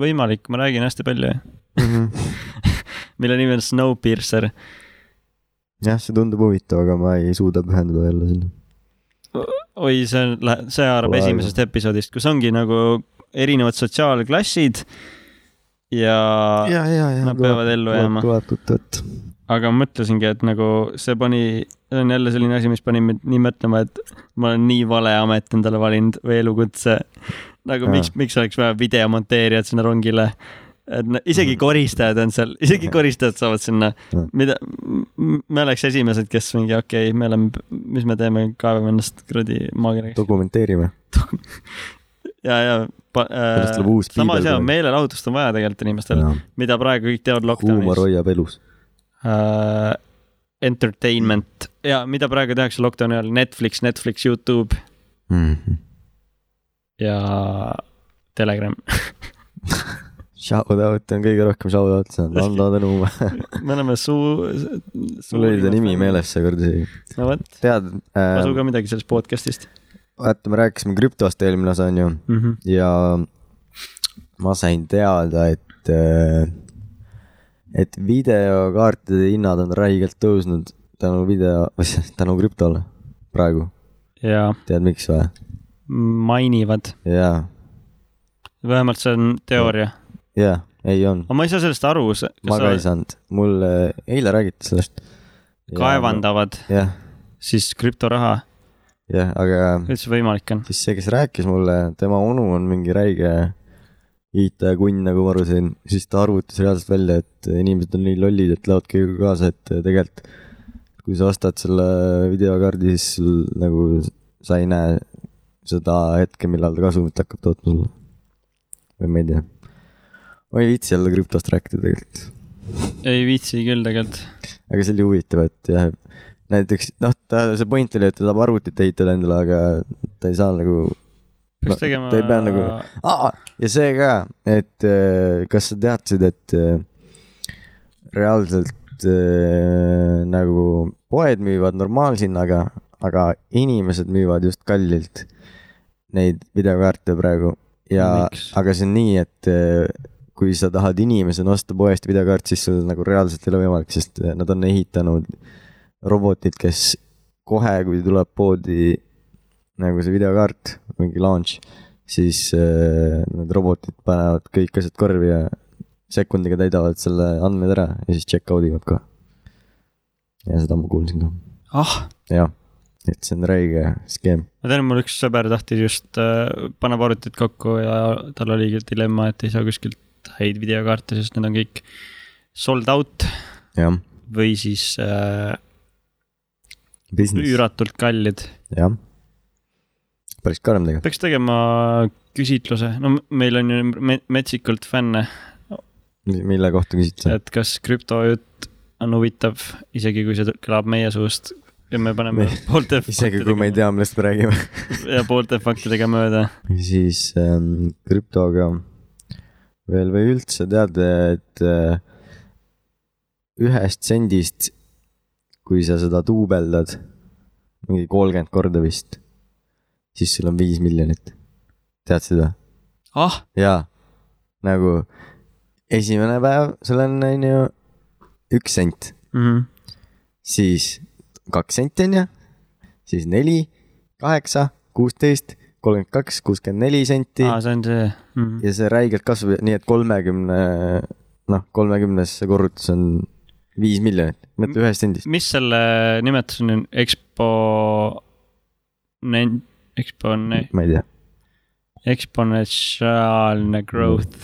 [SPEAKER 2] võimalik , ma räägin hästi palju , Mhm. mille nimi on Snowpiercer .
[SPEAKER 1] jah , see tundub huvitav , aga ma ei suuda pühenduda jälle sinna .
[SPEAKER 2] oi , see on , see haarab
[SPEAKER 1] Pole aega.
[SPEAKER 2] esimesest episoodist , kus ongi nagu erinevad sotsiaalklassid ja, ja ,
[SPEAKER 1] ja , ja , ja .
[SPEAKER 2] nad peavad ellu jääma.
[SPEAKER 1] tuleb tuttavat .
[SPEAKER 2] aga ma mõtlesingi , et nagu see pani , see on jälle selline asi , mis pani mind nii mõtlema , et ma olen nii vale amet endale valinud või elukutse . nagu
[SPEAKER 1] Jaa.
[SPEAKER 2] miks , miks oleks vaja videomonteerijat sinna rongile ? et no, isegi
[SPEAKER 1] Mhm.
[SPEAKER 2] koristajad on seal , isegi koristajad saavad sinna
[SPEAKER 1] Jaa. ,
[SPEAKER 2] mida , me oleks esimesed , kes mingi okei okay, , me oleme , mis me teeme , kaevame ennast kuradi maakirjaga .
[SPEAKER 1] dokumenteerime .
[SPEAKER 2] ja , ja pa, äh,
[SPEAKER 1] Sellest tuleb uus
[SPEAKER 2] sama
[SPEAKER 1] piibel
[SPEAKER 2] asi on ,
[SPEAKER 1] praegu.
[SPEAKER 2] meelelahutust on vaja tegelikult inimestel , mida praegu kõik teevad
[SPEAKER 1] huumor
[SPEAKER 2] lockdownis .
[SPEAKER 1] hoiab elus .
[SPEAKER 2] Uh, entertainment ja mida praegu tehakse lockdowni ajal , Netflix , Netflix , Youtube ja Telegram .
[SPEAKER 1] Shout out on kõige rohkem shout out saanud , Ando Tõnumaa .
[SPEAKER 2] me oleme suu, suu .
[SPEAKER 1] mul oli ta nimi . meeles seekord isegi .
[SPEAKER 2] no vot ,
[SPEAKER 1] tead
[SPEAKER 2] kasu
[SPEAKER 1] äh, ,
[SPEAKER 2] ka midagi sellest podcast'ist
[SPEAKER 1] vaata , me rääkisime krüptost eelmine osa onju
[SPEAKER 2] mm . -hmm.
[SPEAKER 1] ja ma sain teada , et äh, , et videokaartide hinnad on räigelt tõusnud tänu video , tänu krüptole praegu .
[SPEAKER 2] ja
[SPEAKER 1] tead miks või ?
[SPEAKER 2] mainivad ,
[SPEAKER 1] jaa ,
[SPEAKER 2] vähemalt see on teooria ,
[SPEAKER 1] jaa , ei on .
[SPEAKER 2] aga ma ei saa sellest aru , kas
[SPEAKER 1] ma ka ei
[SPEAKER 2] sa
[SPEAKER 1] saanud , mul äh, eile räägiti sellest .
[SPEAKER 2] kaevandavad
[SPEAKER 1] jah ,
[SPEAKER 2] siis krüptoraha ,
[SPEAKER 1] jah , aga
[SPEAKER 2] kuidas see võimalik on ?
[SPEAKER 1] siis see , kes rääkis mulle , tema onu on mingi räige IT-kunn , nagu ma aru sain , siis ta arvutas reaalselt välja , et inimesed on nii lollid , et lähevad kõigega kaasa , et tegelikult kui sa ostad selle videokaardi , siis sul nagu sa ei näe seda hetke , millal ta kasumit hakkab tootma sulle . või ma ei tea . ma ei viitsi jälle krüptost rääkida tegelikult .
[SPEAKER 2] ei viitsi küll tegelikult .
[SPEAKER 1] aga see oli huvitav , et jah , näiteks noh , ta , see point oli , et ta tahab arvutit ehitada endale , aga ta ei saa nagu
[SPEAKER 2] peaks
[SPEAKER 1] No,
[SPEAKER 2] no, tegema .
[SPEAKER 1] ta ei pea nagu- ah, . ja see ka , et eh, kas sa teadsid , et eh, reaalselt eh, nagu poed müüvad normaalhinnaga , aga inimesed müüvad just kallilt neid videokaarte praegu ja ,
[SPEAKER 2] Miks?
[SPEAKER 1] aga see on nii , et eh, kui sa tahad inimesena osta poest videokaart , siis sul nagu reaalselt ei ole võimalik , sest äh, nad on ehitanud robotid , kes kohe , kui tuleb poodi nagu see videokaart , mingi launch , siis äh, need robotid panevad kõik asjad korvi ja sekundiga täidavad selle andmed ära ja siis check out ivad kohe . ja seda ma kuulsin ka ,
[SPEAKER 2] ah ,
[SPEAKER 1] jah , et see on räige skeem .
[SPEAKER 2] ma tean , mul üks sõber tahtis just äh, , paneb arvutid kokku ja tal oligi dilemma , et ei saa kuskilt häid videokaarte , sest need on kõik sold out
[SPEAKER 1] jah ,
[SPEAKER 2] või siis äh,
[SPEAKER 1] business ,
[SPEAKER 2] üüratult kallid .
[SPEAKER 1] jah . päris karm tegelikult ,
[SPEAKER 2] peaks tegema küsitluse , no m- meil on ju me- metsikult fänne ,
[SPEAKER 1] mille kohta küsiti sa ?
[SPEAKER 2] et kas krüptojutt on huvitav , isegi kui see tõ- kõlab meie suust ja me paneme
[SPEAKER 1] Me-
[SPEAKER 2] poolte
[SPEAKER 1] isegi kui me ei
[SPEAKER 2] faktidega-
[SPEAKER 1] tea , millest me räägime .
[SPEAKER 2] ja poolte faktidega mööda .
[SPEAKER 1] siis ähm, krüptoga veel või üldse teada , et äh, ühest sendist , kui sa seda duubeldad , mingi kolmkümmend korda vist , siis sul on viis miljonit . tead seda ?
[SPEAKER 2] ah ,
[SPEAKER 1] jaa , nagu esimene päev , sul on , on ju , üks sent ,
[SPEAKER 2] mm . -hmm.
[SPEAKER 1] siis kaks senti on ju , siis neli , kaheksa , kuusteist , kolmkümmend kaks , kuuskümmend neli senti
[SPEAKER 2] aa , see on see mm . -hmm.
[SPEAKER 1] ja see räigelt kasvab , nii et kolmekümne , noh , kolmekümnes see korrutus on viis miljonit , mitte ühest sendist .
[SPEAKER 2] mis selle nimetus on , ekspo , ekspo ,
[SPEAKER 1] ma ei tea ,
[SPEAKER 2] eksponentsiaalne growth .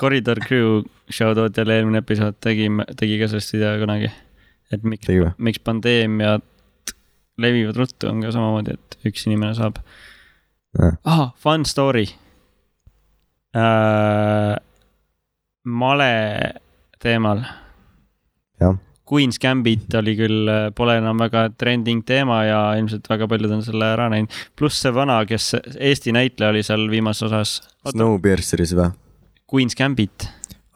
[SPEAKER 2] Corridor Crew show tootjale eelmine episood tegime , tegi ka sellest video kunagi . et miks
[SPEAKER 1] tegi või ?
[SPEAKER 2] miks pandeemiad levivad ruttu , on ka samamoodi , et üks inimene saab .
[SPEAKER 1] Jah.
[SPEAKER 2] ahah , fun story äh, . male teemal .
[SPEAKER 1] Jah.
[SPEAKER 2] Queen's Gambit oli küll , pole enam väga trending teema ja ilmselt väga paljud on selle ära näinud . pluss see vana , kes Eesti näitleja oli seal viimases osas .
[SPEAKER 1] Snowpierceris või ?
[SPEAKER 2] Queen's Gambit ,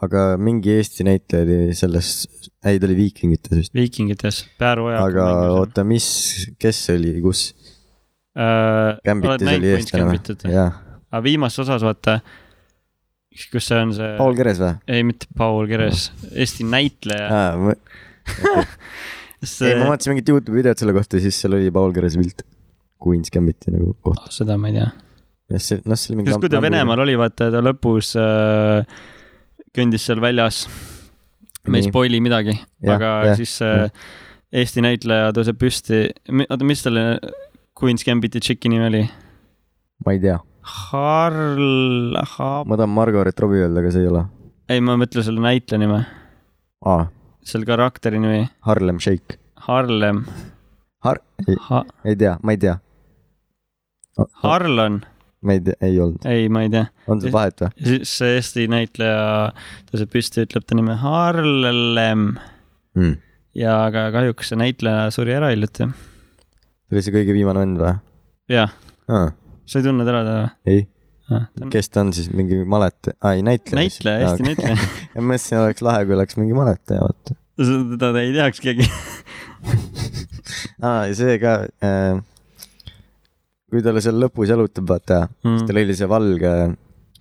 [SPEAKER 1] aga mingi Eesti näitleja oli selles , ei ta oli Viikingites vist .
[SPEAKER 2] viikingites , Pääru oja .
[SPEAKER 1] aga . oota , mis , kes see oli , kus ?
[SPEAKER 2] Äh,
[SPEAKER 1] Gambitis oli eestlane või ? jaa ,
[SPEAKER 2] aga viimases osas vaata , kus see on see ,
[SPEAKER 1] Paul Keres või ?
[SPEAKER 2] ei mitte Paul Keres , Eesti näitleja .
[SPEAKER 1] aa , ma ,
[SPEAKER 2] See...
[SPEAKER 1] ei
[SPEAKER 2] äh,
[SPEAKER 1] ma vaatasin mingit Youtube'i videot selle kohta , siis seal oli Paul Kerese pilt . Queen's Gambiti nagu koht .
[SPEAKER 2] seda ma ei tea .
[SPEAKER 1] jah , see , noh , see oli mingi .
[SPEAKER 2] sest kui ta Venemaal oli , vaata ta lõpus äh, kõndis seal väljas . me ei
[SPEAKER 1] Nii.
[SPEAKER 2] spoil'i midagi ,
[SPEAKER 1] Jah,
[SPEAKER 2] aga ja,
[SPEAKER 1] jah,
[SPEAKER 2] siis äh, Eesti näitleja tõuseb püsti , oota , mis selle Queen's Gambiti tšiki nimi oli ?
[SPEAKER 1] ma ei tea ,
[SPEAKER 2] Harl , Haab- ,
[SPEAKER 1] ma tahan Margaret Robbie öelda , aga see ei ole .
[SPEAKER 2] ei , ma mõtlen selle näitleja nime ,
[SPEAKER 1] aa ,
[SPEAKER 2] selle karakteri nimi ,
[SPEAKER 1] Harlem Shake .
[SPEAKER 2] Harlem
[SPEAKER 1] Har- ,
[SPEAKER 2] ha, ,
[SPEAKER 1] ei tea , ma ei tea .
[SPEAKER 2] Harlan ,
[SPEAKER 1] ma ei tea , ei olnud .
[SPEAKER 2] ei , ma ei tea .
[SPEAKER 1] on sul vahet või ?
[SPEAKER 2] ja siis see Eesti näitleja tõuseb püsti , ütleb ta nime Harlem
[SPEAKER 1] Mm.
[SPEAKER 2] ja aga kahjuks see näitleja suri ära hiljuti .
[SPEAKER 1] see oli see kõige viimane vend või ?
[SPEAKER 2] jah ,
[SPEAKER 1] aa ,
[SPEAKER 2] sa ei tundnud ära teda
[SPEAKER 1] ei ,
[SPEAKER 2] või ?
[SPEAKER 1] kes ta on siis , mingi maletaja , aa ei näitleja .
[SPEAKER 2] näitleja , Eesti . näitleja .
[SPEAKER 1] ma mõtlesin , oleks lahe , kui oleks mingi maletaja , vaata .
[SPEAKER 2] teda ei teaks keegi .
[SPEAKER 1] aa , ja see ka äh, , kui talle seal lõpus jalutab , vaata mm. , siis tal oli see valge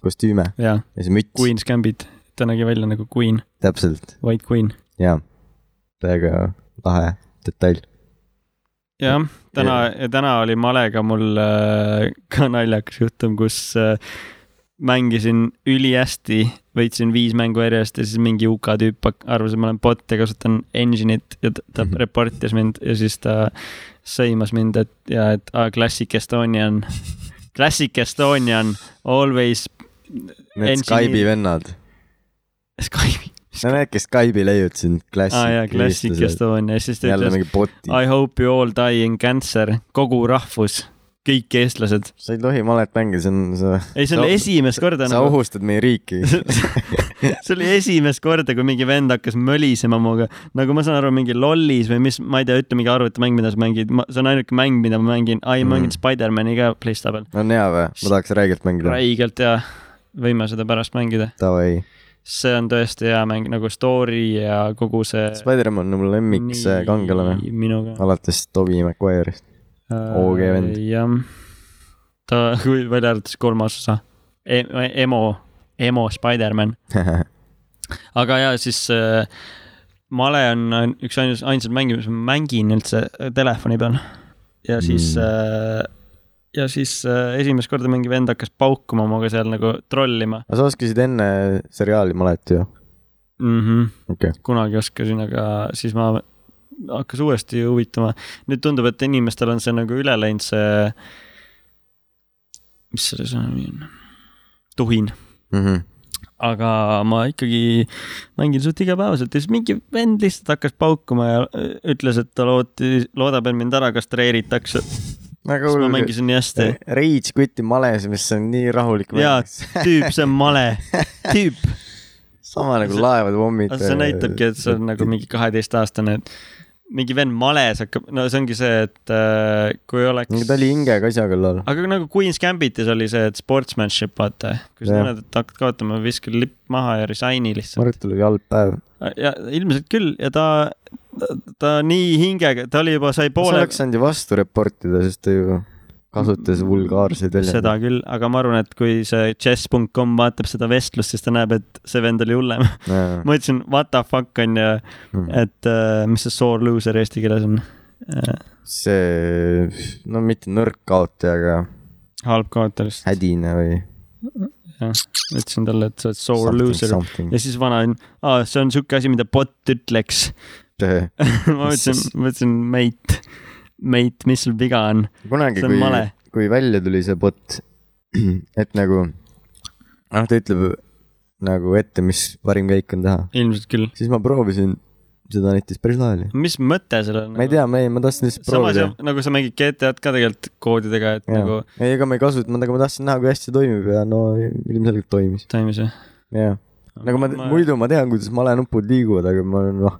[SPEAKER 1] kostüüme
[SPEAKER 2] jaa ,
[SPEAKER 1] ja see müts ,
[SPEAKER 2] Queen's Gambit , ta nägi välja nagu Queen ,
[SPEAKER 1] täpselt ,
[SPEAKER 2] White Queen .
[SPEAKER 1] jaa . täiega lahe detail .
[SPEAKER 2] jah , täna , täna oli malega mul äh, ka naljakas juhtum , kus äh, mängisin ülihästi , võitsin viis mängu järjest ja siis mingi UK tüüp hak- arvas , et ma olen bot ja kasutan engine'it ja ta, ta
[SPEAKER 1] Mhm.
[SPEAKER 2] reportis mind ja siis ta sõimas mind , et ja et ah, Classic Estonian , Classic Estonian always
[SPEAKER 1] Need
[SPEAKER 2] Engineer-
[SPEAKER 1] Skype'i vennad ,
[SPEAKER 2] Skype'i .
[SPEAKER 1] no need , kes Skype'i leiutasid ,
[SPEAKER 2] aa jaa , Classic
[SPEAKER 1] klassik .
[SPEAKER 2] Estonia , siis ta
[SPEAKER 1] jälle
[SPEAKER 2] ütles
[SPEAKER 1] mingi bot'i ,
[SPEAKER 2] I hope you all die in cancer , kogu rahvus , kõik eestlased .
[SPEAKER 1] sa ei tohi malet mängida , see on , sa ,
[SPEAKER 2] ei , see oli
[SPEAKER 1] Sa-
[SPEAKER 2] esimest korda
[SPEAKER 1] sa
[SPEAKER 2] nagu ,
[SPEAKER 1] ohustad meie riiki .
[SPEAKER 2] see oli esimest korda , kui mingi vend hakkas mölisema minuga , nagu ma saan aru , mingi lollis või mis , ma ei tea , ütle mingi arvutimäng , mida sa mängid , see on ainuke mäng , mida ma mängin , ai , ma
[SPEAKER 1] Mm.
[SPEAKER 2] mängin Spider-man'i ka PlayStation peal .
[SPEAKER 1] on hea või ? ma tahaks räigelt mängida .
[SPEAKER 2] räigelt ja võime seda pärast mängida ,
[SPEAKER 1] Davai
[SPEAKER 2] see on tõesti hea mäng nagu story ja kogu see .
[SPEAKER 1] Spider-man on mu lemmik see kangelane ,
[SPEAKER 2] minuga .
[SPEAKER 1] alates Toby McGuire'ist . OG vend.
[SPEAKER 2] jah , ta , kui välja arvates kolmas osa e , emo , emo Spider-man , aga ja siis äh, male on ain- üks ainus , ainsad mängid , mis ma mängin üldse äh, telefoni peal . ja siis
[SPEAKER 1] Mm.
[SPEAKER 2] mm. , ja siis äh, esimest korda mingi vend hakkas paukuma minuga seal nagu trollima
[SPEAKER 1] aga sa oskasid enne seriaali malet ju ?
[SPEAKER 2] mm . -hmm.
[SPEAKER 1] okei okay. ,
[SPEAKER 2] kunagi oskasin , aga siis ma , hakkas uuesti huvitama . nüüd tundub , et inimestel on see nagu üle läinud , see , mis selle sõna nimi on ? tuhin ,
[SPEAKER 1] mm -hmm.
[SPEAKER 2] aga ma ikkagi mängin suht igapäevaselt ja siis mingi vend lihtsalt hakkas paukuma ja öö, ütles , et ta lootis , loodab , et mind ära kastreeritakse .
[SPEAKER 1] väga
[SPEAKER 2] siis ma
[SPEAKER 1] hull .
[SPEAKER 2] mängisin nii hästi .
[SPEAKER 1] Äh, Rage Quit'i males , mis on nii rahulik
[SPEAKER 2] jaa
[SPEAKER 1] mäng .,
[SPEAKER 2] tüüp , see on male , tüüp .
[SPEAKER 1] sama nagu
[SPEAKER 2] see-
[SPEAKER 1] laevad , äh, pommid .
[SPEAKER 2] see näitabki , et see on nagu . mingi kaheteistaastane , et mingi vend males hakkab , no see ongi see , et äh, kui oleks .
[SPEAKER 1] ta oli hingega asja kallal .
[SPEAKER 2] aga nagu Queen's Gambitis oli see , et sportsmanship , vaata , kui sa
[SPEAKER 1] Jah.
[SPEAKER 2] tunned , et hakkad kaotama , viska lipp maha ja resign'i lihtsalt .
[SPEAKER 1] Martul oli halb päev .
[SPEAKER 2] Äh, ja ilmselt küll ja ta, ta , ta nii hingega , ta oli juba , sai
[SPEAKER 1] sa
[SPEAKER 2] poole
[SPEAKER 1] oleks saanud ju vastu reportida , sest ta ju kasutas vulgaarseid
[SPEAKER 2] seda
[SPEAKER 1] väljendeid .
[SPEAKER 2] küll , aga ma arvan , et kui see chess.com vaatab seda vestlust , siis ta näeb , et see vend oli hullem . ma ütlesin what the fuck onju ,
[SPEAKER 1] Hmm.
[SPEAKER 2] et äh, mis see sore loser eesti keeles on äh, ?
[SPEAKER 1] see , no mitte nõrk kaotaja , aga
[SPEAKER 2] halb kaotaja lihtsalt .
[SPEAKER 1] hädine või .
[SPEAKER 2] ütlesin talle , et sa oled sore loser . ja siis vana on , aa , see on siuke asi , mida bot ütleks ma mõtlesin , mõtlesin meit , meit , mis sul viga on ,
[SPEAKER 1] kunagi ,
[SPEAKER 2] see on
[SPEAKER 1] kui
[SPEAKER 2] male .
[SPEAKER 1] kui välja tuli see bot , et nagu , noh , ta ütleb nagu ette , mis parim käik on teha .
[SPEAKER 2] ilmselt küll .
[SPEAKER 1] siis ma proovisin seda netis , päris lahe oli .
[SPEAKER 2] mis mõte sellel on ?
[SPEAKER 1] ma ei tea , ma ei , ma tahtsin lihtsalt
[SPEAKER 2] samas
[SPEAKER 1] proovida
[SPEAKER 2] jah , nagu sa mängid GTA-d ka tegelikult koodidega , et ja. nagu
[SPEAKER 1] Jaa. ei , ega ma ei kasutanud , aga ma tahtsin näha , kui hästi see toimib ja no ilmselgelt toimis .
[SPEAKER 2] toimis või ?
[SPEAKER 1] jah , nagu ma, ma... , muidu ma tean , kuidas malenupud liiguvad , aga ma olen noh ,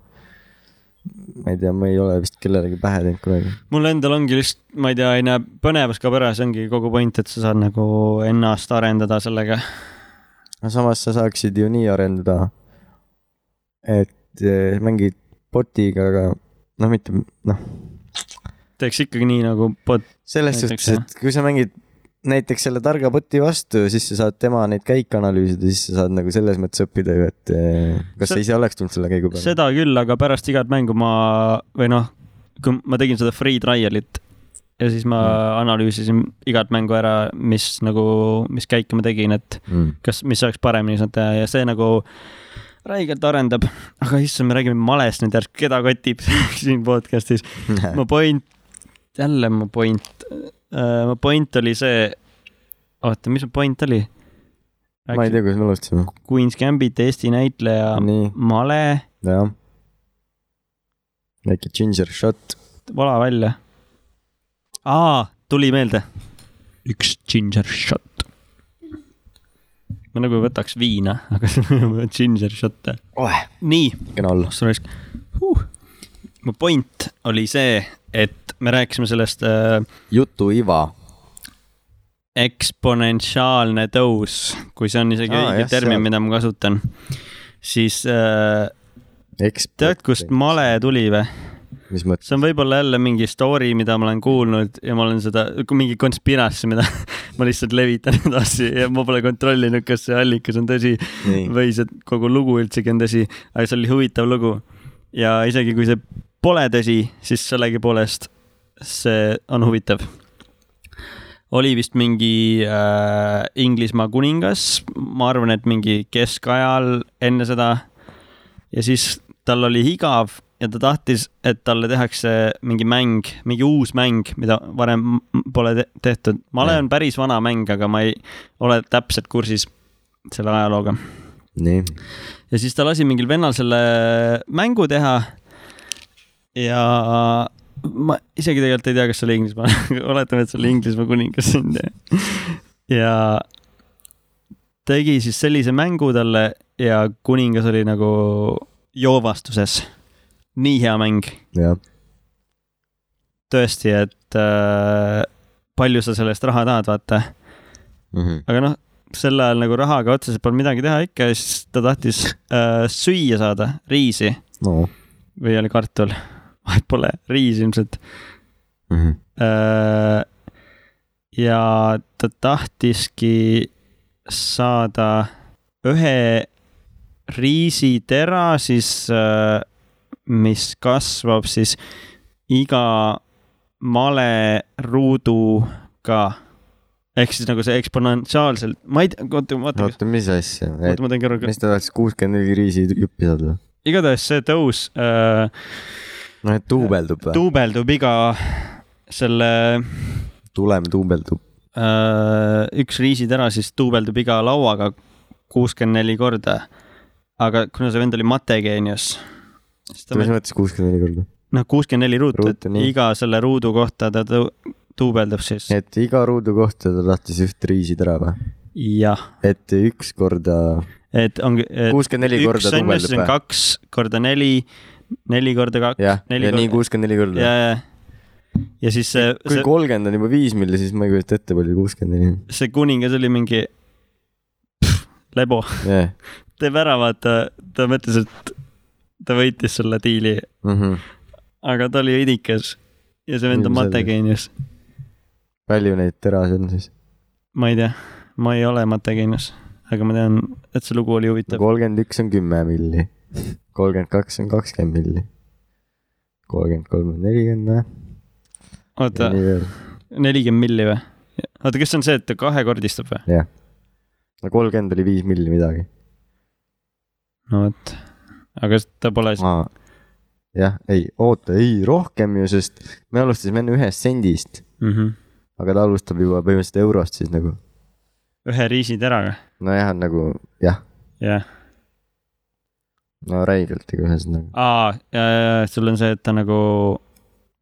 [SPEAKER 1] ma ei tea , ma ei ole vist kellelegi pähe teinud kunagi .
[SPEAKER 2] mul endal ongi just , ma ei tea , ei näe , põnevus kaob ära , see ongi kogu point , et sa saad nagu ennast arendada sellega .
[SPEAKER 1] no samas sa saaksid ju nii arendada , et eh, mängid botiga , aga noh , mitte noh ,
[SPEAKER 2] teeks ikkagi nii nagu bot ,
[SPEAKER 1] selles
[SPEAKER 2] Näiteks,
[SPEAKER 1] suhtes , et kui sa mängid näiteks selle targa boti vastu , siis sa saad tema neid käike analüüsida , siis sa saad nagu selles mõttes õppida ju , et eh, kas
[SPEAKER 2] Se-
[SPEAKER 1] sa ise oleks tulnud selle käigu peale .
[SPEAKER 2] seda küll , aga pärast igat mängu ma või noh , kui ma tegin seda free trial'it ja siis ma mm. analüüsisin igat mängu ära , mis nagu , mis käike ma tegin , et
[SPEAKER 1] Mm.
[SPEAKER 2] kas , mis saaks paremini saanud teha ja see nagu räigelt arendab , aga issand , me räägime malest nüüd järsku , keda kotib siin podcast'is .
[SPEAKER 1] Äh.
[SPEAKER 2] mu point , jälle mu point , mu point oli see , oota , mis mu point oli ?
[SPEAKER 1] ma ei tea , kus me alustasime .
[SPEAKER 2] Queen's Gambit Eesti näitleja
[SPEAKER 1] nii ,
[SPEAKER 2] male ,
[SPEAKER 1] jah . väike ginger shot .
[SPEAKER 2] vala välja . aa , tuli meelde . üks ginger shot . ma nagu võtaks viina , aga ginger shot'e . nii ,
[SPEAKER 1] kena olla .
[SPEAKER 2] sul oleks huh. . mu point oli see , et me rääkisime sellest äh,
[SPEAKER 1] jutu iva .
[SPEAKER 2] eksponentsiaalne tõus , kui see on isegi
[SPEAKER 1] Aa,
[SPEAKER 2] ah, õige
[SPEAKER 1] jah,
[SPEAKER 2] termin ,
[SPEAKER 1] seal.
[SPEAKER 2] mida ma kasutan , siis äh,
[SPEAKER 1] eks
[SPEAKER 2] tead , kust male tuli või ?
[SPEAKER 1] mis mõttes ?
[SPEAKER 2] see on võib-olla jälle mingi story , mida ma olen kuulnud ja ma olen seda , mingi konspiratsioon , mida ma lihtsalt levitan edasi ja ma pole kontrollinud , kas see allikas on tõsi
[SPEAKER 1] nii ,
[SPEAKER 2] või see kogu lugu üldsegi on tõsi , aga see oli huvitav lugu . ja isegi kui see pole tõsi , siis sellegipoolest see on huvitav . oli vist mingi äh, Inglismaa kuningas , ma arvan , et mingi keskajal enne seda . ja siis tal oli igav ja ta tahtis , et talle tehakse mingi mäng , mingi uus mäng , mida varem pole te tehtud . male on päris vana mäng , aga ma ei ole täpselt kursis selle ajalooga
[SPEAKER 1] nii ,
[SPEAKER 2] ja siis ta lasi mingil vennal selle mängu teha . ja ma isegi tegelikult ei tea , kas see oli Inglismaa , oletame , et see oli Inglismaa kuningas siin . ja tegi siis sellise mängu talle ja kuningas oli nagu joovastuses . nii hea mäng ,
[SPEAKER 1] jah .
[SPEAKER 2] tõesti , et äh, palju sa sellest raha tahad , vaata
[SPEAKER 1] Mhm.
[SPEAKER 2] aga noh , sel ajal nagu rahaga otseselt polnud midagi teha ikka ja siis ta tahtis äh, süüa saada , riisi
[SPEAKER 1] no .
[SPEAKER 2] või oli kartul , vahet pole , riis ilmselt
[SPEAKER 1] Mhm.
[SPEAKER 2] äh, . ja ta tahtiski saada ühe riisitera siis äh, , mis kasvab siis iga maleruuduga ehk siis nagu see eksponentsiaalselt , ma ei tea , oota , vaata ,
[SPEAKER 1] oota , mis asja ?
[SPEAKER 2] oota , ma teen korra ,
[SPEAKER 1] mis ta tahtis , kuuskümmend neli riisi juppi saada ?
[SPEAKER 2] igatahes see tõus äh,
[SPEAKER 1] noh , et duubeldub või ?
[SPEAKER 2] duubeldub iga selle
[SPEAKER 1] tulem duubeldub .
[SPEAKER 2] äh, , üks riisitera siis duubeldub iga lauaga kuuskümmend neli korda . aga kuna see vend oli mategeenius , siis ta
[SPEAKER 1] mis
[SPEAKER 2] meil ,
[SPEAKER 1] mõttes kuuskümmend neli korda ?
[SPEAKER 2] noh , kuuskümmend neli ruutu , et
[SPEAKER 1] Ruutu, nii.
[SPEAKER 2] iga selle ruudu kohta ta tõu- duubeldub siis ,
[SPEAKER 1] et iga ruudu kohta ta tahtis üht riisi tära või ?
[SPEAKER 2] jah ,
[SPEAKER 1] et üks korda ,
[SPEAKER 2] et ongi , et
[SPEAKER 1] kuuskümmend neli
[SPEAKER 2] üks
[SPEAKER 1] korda
[SPEAKER 2] on ju , siis
[SPEAKER 1] duubeldub
[SPEAKER 2] on
[SPEAKER 1] või ?
[SPEAKER 2] kaks korda neli , neli korda kaks ,
[SPEAKER 1] jah ,
[SPEAKER 2] neli
[SPEAKER 1] ja nii
[SPEAKER 2] korda.
[SPEAKER 1] kuuskümmend neli korda
[SPEAKER 2] ja ,. ja , ja siis see ,
[SPEAKER 1] kui
[SPEAKER 2] see ,
[SPEAKER 1] kolmkümmend on juba viis milli , siis ma ei kujuta ette , palju kuuskümmend neli on .
[SPEAKER 2] see kuningas oli mingi pff, lebo .
[SPEAKER 1] jah .
[SPEAKER 2] teeb ära , vaata , ta mõtles , et ta võitis selle diili ,
[SPEAKER 1] Mhm.
[SPEAKER 2] aga ta oli õidikas ja see vend on
[SPEAKER 1] Ilmselgelt.
[SPEAKER 2] mategeenius .
[SPEAKER 1] palju neid terasid on siis ?
[SPEAKER 2] ma ei tea , ma ei ole mategeenius , aga ma tean , et see lugu oli huvitav .
[SPEAKER 1] kolmkümmend üks on kümme milli , kolmkümmend kaks on kakskümmend milli , kolmkümmend kolm on nelikümmend või ?
[SPEAKER 2] oota ,
[SPEAKER 1] nii veel ,
[SPEAKER 2] nelikümmend milli või ? oota , kas see on see , et ta kahekordistab või ?
[SPEAKER 1] jah . no kolmkümmend oli viis milli midagi .
[SPEAKER 2] no vot , aga s- ta pole ,
[SPEAKER 1] jah , ei , oota , ei rohkem ju , sest me alustasime enne ühest sendist ,
[SPEAKER 2] mm -hmm.
[SPEAKER 1] aga ta alustab juba põhimõtteliselt eurost siis nagu .
[SPEAKER 2] ühe riisiteraga ,
[SPEAKER 1] nojah , on nagu jah ,
[SPEAKER 2] jah .
[SPEAKER 1] no räigelt nagu ühesõnaga .
[SPEAKER 2] aa , sul on see , et ta nagu ,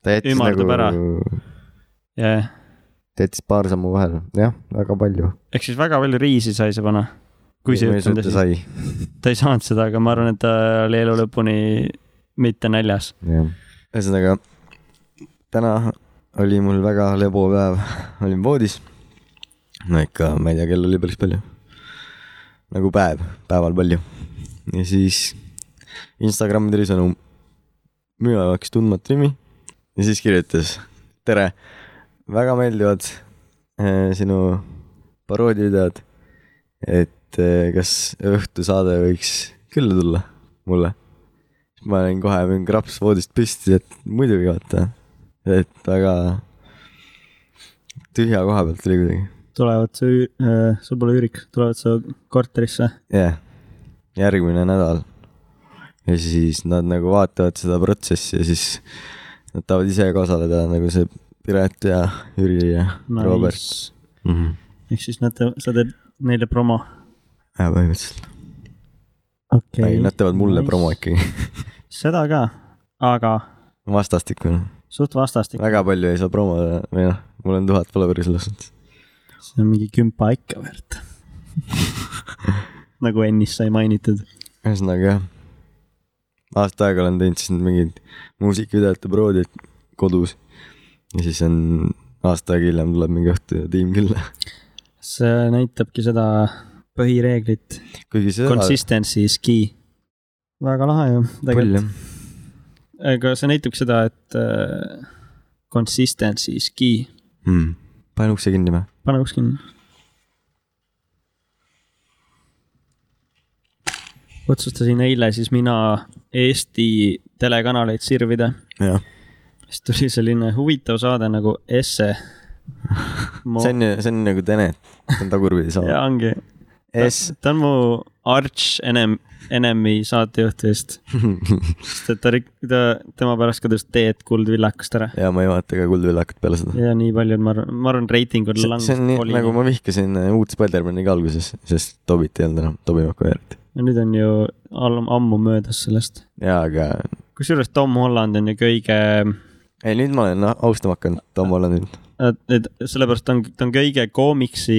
[SPEAKER 1] ta jättis
[SPEAKER 2] Ümardab ära.
[SPEAKER 1] nagu ,
[SPEAKER 2] jah ,
[SPEAKER 1] ta jättis paar sammu vahele , jah , väga palju .
[SPEAKER 2] ehk siis väga palju riisi sai see panna . kui see juhtunud asi ,
[SPEAKER 1] sai ,
[SPEAKER 2] ta ei saanud seda , aga ma arvan , et ta oli elu lõpuni mitte näljas .
[SPEAKER 1] jah . ühesõnaga , täna oli mul väga lebo päev , olin voodis . no ikka , ma ei tea , kell oli päris palju . nagu päev , päeval palju . ja siis Instagrami tuli sõnum , minu jaoks tundmatu nimi ja siis kirjutas . tere , väga meeldivad äh, sinu paroodiavideod . et äh, kas õhtusaade võiks külla tulla mulle ? ma olin kohe mingi kraps voodist püsti , et muidugi vaata , et väga tühja koha pealt tuli kuidagi .
[SPEAKER 2] tulevad sa , sul pole üürik , tulevad sa korterisse .
[SPEAKER 1] jah , järgmine nädal . ja siis nad nagu vaatavad seda protsessi ja siis nad tahavad ise ka osaleda , nagu see Piret ja Jüri ja nice. Robert
[SPEAKER 2] Nice.
[SPEAKER 1] mm . -hmm.
[SPEAKER 2] ehk siis nad , sa teed neile promo .
[SPEAKER 1] ja põhimõtteliselt
[SPEAKER 2] okei
[SPEAKER 1] okay. , nad teevad mulle nice. promo . ikkagi ,
[SPEAKER 2] seda ka , aga
[SPEAKER 1] vastastikune .
[SPEAKER 2] suht vastastik ,
[SPEAKER 1] noh. väga palju ei saa promoda või noh , mul on tuhat follower'i selles mõttes .
[SPEAKER 2] see on mingi kümpa ikka väärt . nagu ennist sai mainitud .
[SPEAKER 1] ühesõnaga jah , aasta aega olen teinud siis mingeid muusikavideote paroodiaid kodus ja siis on aasta aega hiljem tuleb mingi õhtutiim külla .
[SPEAKER 2] see näitabki seda põhireeglit ,
[SPEAKER 1] kuigi see
[SPEAKER 2] consistency is key . väga lahe ju ,
[SPEAKER 1] pull
[SPEAKER 2] tegelikult .
[SPEAKER 1] jah ,
[SPEAKER 2] aga see näitabki seda , et äh, consistency is key .
[SPEAKER 1] Hmm. pane ukse kinni või ?
[SPEAKER 2] pane uks kinni . otsustasin eile siis mina Eesti telekanaleid sirvida
[SPEAKER 1] jah ,
[SPEAKER 2] siis tuli selline huvitav saade nagu Esse .
[SPEAKER 1] see on , see on nagu Tenet , see on tagurpidi
[SPEAKER 2] ja
[SPEAKER 1] sama .
[SPEAKER 2] ongi ,
[SPEAKER 1] S ,
[SPEAKER 2] ta on mu arch enem- , enemy saatejuht vist , sest et ta , ta , tema pärast kadus Teet Kuldvillakust ära
[SPEAKER 1] ja ma ei vaata ka Kuldvillakut peale seda .
[SPEAKER 2] ja nii palju , ma arvan , ma arvan , reitingud
[SPEAKER 1] see see on nii , nagu
[SPEAKER 2] langenud .
[SPEAKER 1] ma vihkasin äh, uut Spider-man'i ka alguses , sest Tobit ei olnud enam , Tobi Makoverit .
[SPEAKER 2] nüüd on ju all- ammu möödas sellest ,
[SPEAKER 1] jaa , aga
[SPEAKER 2] kusjuures Tom Holland on ju kõige ,
[SPEAKER 1] ei nüüd ma olen austama hakanud Tom Hollandit
[SPEAKER 2] et sellepärast ta on , ta on kõige koomiksi